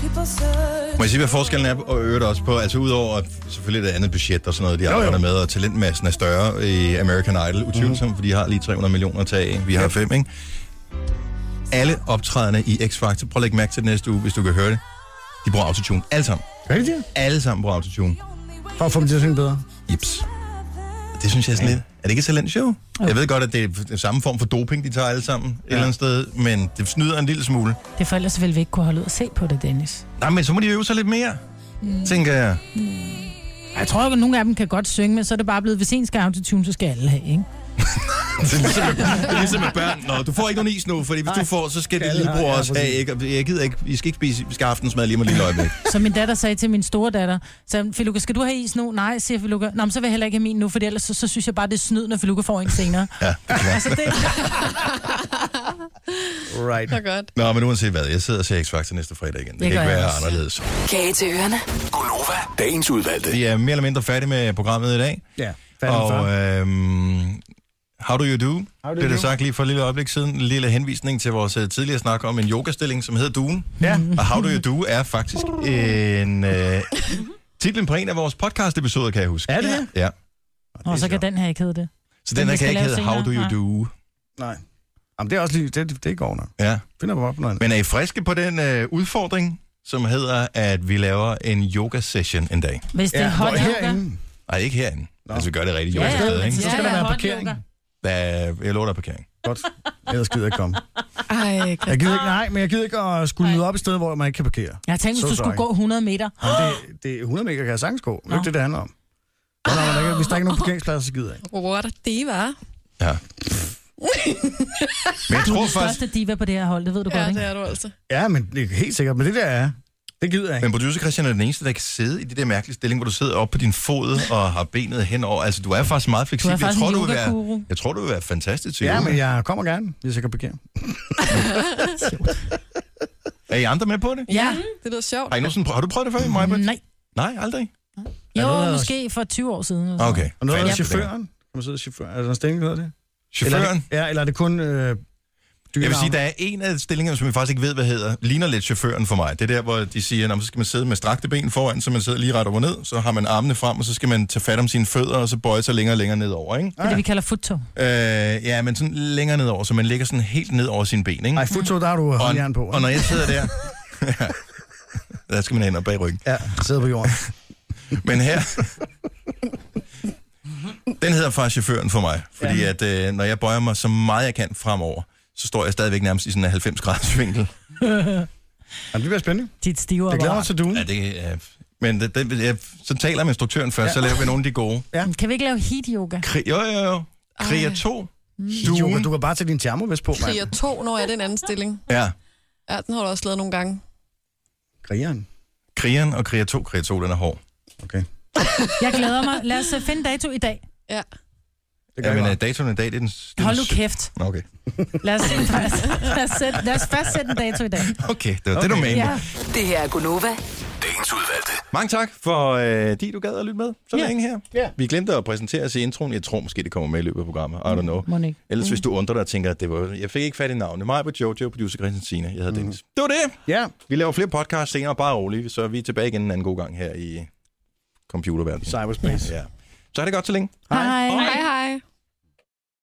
D: People search.
G: Må jeg sige, hvad forskellen er, og øvrigt også på, altså udover at selvfølgelig er det andet budget og sådan noget, de arbejder med, og talentmassen er større i American Idol,
B: Mhm.
G: utvivlsomt, for de har lige 300 millioner at tage af. Vi har fem, ikke? Alle optrædende i X Factor, prøv at lægge mærke til det næste uge, hvis du kan høre det, de bruger autotune. Alle sammen.
E: Gør de det?
G: Alle sammen bruger autotune.
E: For at få dem til at synge bedre.
G: Jeps. Det synes jeg er sådan lidt... Er det ikke et talentshow? Jeg ved godt, at det er den samme form for doping, de tager alle sammen et eller andet sted, men det snyder en lille smule.
F: Det er for ellers ville vi ikke kunne holde ud og se på det, Dennis.
G: Nej, men så må de øve sig lidt mere, tænker jeg.
F: Jeg tror ikke, at nogle af dem kan godt synge, men så er det bare blevet, hvis en skal autotune, så skal alle have, ikke?
G: (laughs) det, er ligesom, det er ligesom med børn. Nå, du får ikke nogen is nu, fordi hvis du får, så skal din lillebror også have ikke. Og Jeg gider ikke, I skal ikke spise, vi skal have aftensmad lige om et lille øjeblik.
F: Så min datter sagde til min store datter, så Feluca, skal du have is nu? Nej, siger Feluca. Nå, men så vil jeg heller ikke have min nu, for ellers så, så synes jeg bare, det er snyd, når Feluca får en senere.
G: Ja, det er
F: Altså, det...
E: Right.
H: Så godt.
G: Nå, men uanset hvad, jeg sidder og ser X-Factor næste fredag igen. Det,
B: Det
G: kan
B: gør
G: ikke
B: jeg
G: være
B: også.
G: anderledes.
B: Kage til ørerne.
U: Gunova, dagens udvalgte.
G: Vi er mere eller mindre færdige med programmet i dag.
E: Ja, færdig med
G: Og øhm, how do you do?
E: How do
G: Blev det
E: you do?
G: sagt lige for et lille øjeblik siden. En lille henvisning til vores øh, tidligere snak om en yogastilling, som hedder Duen.
E: Ja.
G: Og how do you do er faktisk en... Øh, titlen på en af vores podcast-episoder, kan jeg huske.
E: Er det det?
G: Ja.
F: Og så kan den her ikke hedde det.
G: Så den her
F: vi
G: kan
F: skal
G: ikke
F: lave
G: hedde How Do
F: senere.
G: You Do.
E: Nej. Jamen, det er også lige... Det, det går nok.
G: Ja.
E: Finder vi bare på noget andet.
G: Men er I friske på den øh, udfordring, som hedder, at vi laver en yoga-session en dag?
F: Hvis det er hot yoga.
G: Nej, ikke herinde. Nå. Altså, vi gør det rigtigt
F: Ja,
G: yoga
F: ja,
G: sted,
F: men
G: ikke?
F: så skal Ja, der ja, være hot
E: parkering. yoga.
G: Der er, jeg lover, der er parkering.
E: Godt. Ellers gider jeg ikke komme.
H: Ej, kan...
E: Jeg gider ikke, Ah. nej, men jeg gider ikke at skulle møde op et sted, hvor man ikke kan parkere.
F: Jeg tænkte,
E: So
F: hvis du skulle
E: sorry.
F: gå 100 meter.
E: Jamen, det, det er 100 meter, kan jeg sagtens gå. Det er ikke det, det handler om. Nå, nej, men der ikke- Hvis der ikke er nogen parkeringspladser, så gider jeg ikke.
H: What a diva.
F: (laughs)
G: Ja. Men jeg
F: Du er
G: tror
F: den
G: faktisk...
F: største diva på det her hold, det ved du godt, ikke?
H: Ja, det er du altså.
E: Ja, men det er helt sikkert. Men det der er, det gider jeg ikke.
G: Men producer Christian er den eneste, der kan sidde i det der mærkelige stilling, hvor du sidder op på din fod og har benet henover. Altså, du er faktisk meget fleksibel.
E: faktisk
G: jeg, tror,
E: en
G: du vil
E: yogaguru.
G: være, jeg tror, du vil være fantastisk til
E: Ja,
G: yoga.
E: men jeg kommer gerne, hvis jeg kan parkere.
G: Er I andre med på det?
H: Ja, det lyder sjovt.
G: Har, I nogensinde, prø- har du prøvet det før, Maja?
F: Nej.
G: Nej, aldrig?
F: Jo, måske for 20 år siden. eller sådan
G: Okay.
F: noget.
E: Og noget af
G: Fanden,
E: chaufføren? Kan man sidde i chaufføren? Er der en stilling, der hedder det?
G: Chaufføren?
E: Eller er det, ja, eller er det kun øh,
G: Jeg vil sige, der er en af stillingerne, som jeg faktisk ikke ved, hvad hedder, ligner lidt chaufføren for mig. Det er der, hvor de siger, at så skal man sidde med strakte ben foran, så man sidder lige ret op og ned, så har man armene frem, og så skal man tage fat om sine fødder, og så bøje sig længere og længere nedover, ikke?
F: Det er det, vi kalder futtog.
G: Øh, ja, men sådan længere nedover, så man ligger sådan helt ned over sine ben, ikke?
E: Nej, futtog, der har du håndjern på.
G: Og når jeg sidder (laughs) der, der skal man hænder bag ryggen.
E: Ja, sidder på jorden.
G: Men her, den hedder far chaufføren for mig, fordi ja. at øh, når jeg bøjer mig så meget jeg kan fremover, så står jeg stadigvæk nærmest i sådan en 90 graders vinkel.
E: Jamen, det bliver spændende.
F: Dit stive
E: Det glæder mig til du.
G: Ja, det er... Men det, det, jeg, så taler jeg med instruktøren først, ja. så laver vi nogle af de gode.
F: Ja. Kan vi ikke lave heat yoga?
G: Kri- jo, jo, jo. Kriger 2.
E: Du, du kan bare tage din thermovest på, mand.
H: Kriger 2, når er det en anden stilling.
G: Ja.
H: Ja, den har du også lavet nogle gange.
E: Krigeren.
G: Krigeren og Kriger 2. Kriger 2, den er hård.
E: Okay.
F: Jeg glæder mig. Lad os øh, finde dato i dag.
H: Ja.
G: Det ja, men øh, datoen i dag, det er den... den
F: Hold nu kæft.
G: Nå, Okay.
F: Lad os, (laughs) lad os, sætte, lad os først sætte en dato i dag.
G: Okay, det var okay. det, du mente. Ja.
V: Det her er Gunova.
B: Dagens udvalgte.
G: Mange tak for, øh, de du gad at lytte med så
F: Ja.
G: længe her.
F: Ja.
G: Vi glemte at præsentere os i introen. Jeg tror måske, det kommer med i løbet af programmet. I don't know.
F: Mon Mm. ikke. Mm.
G: Ellers hvis du undrer dig og tænker, at det var, jeg fik ikke fat i navnet. Mig på Jojo, producer Christian Sine.
F: Mm.
G: Jeg hedder Dennis. Det var det.
E: Ja.
G: Vi laver flere podcasts senere, bare roligt. Så er vi tilbage igen en anden god gang her i computerverdenen.
E: Cyberspace.
G: Ja. Så er det godt så længe.
F: Hej.
H: Hej, hej.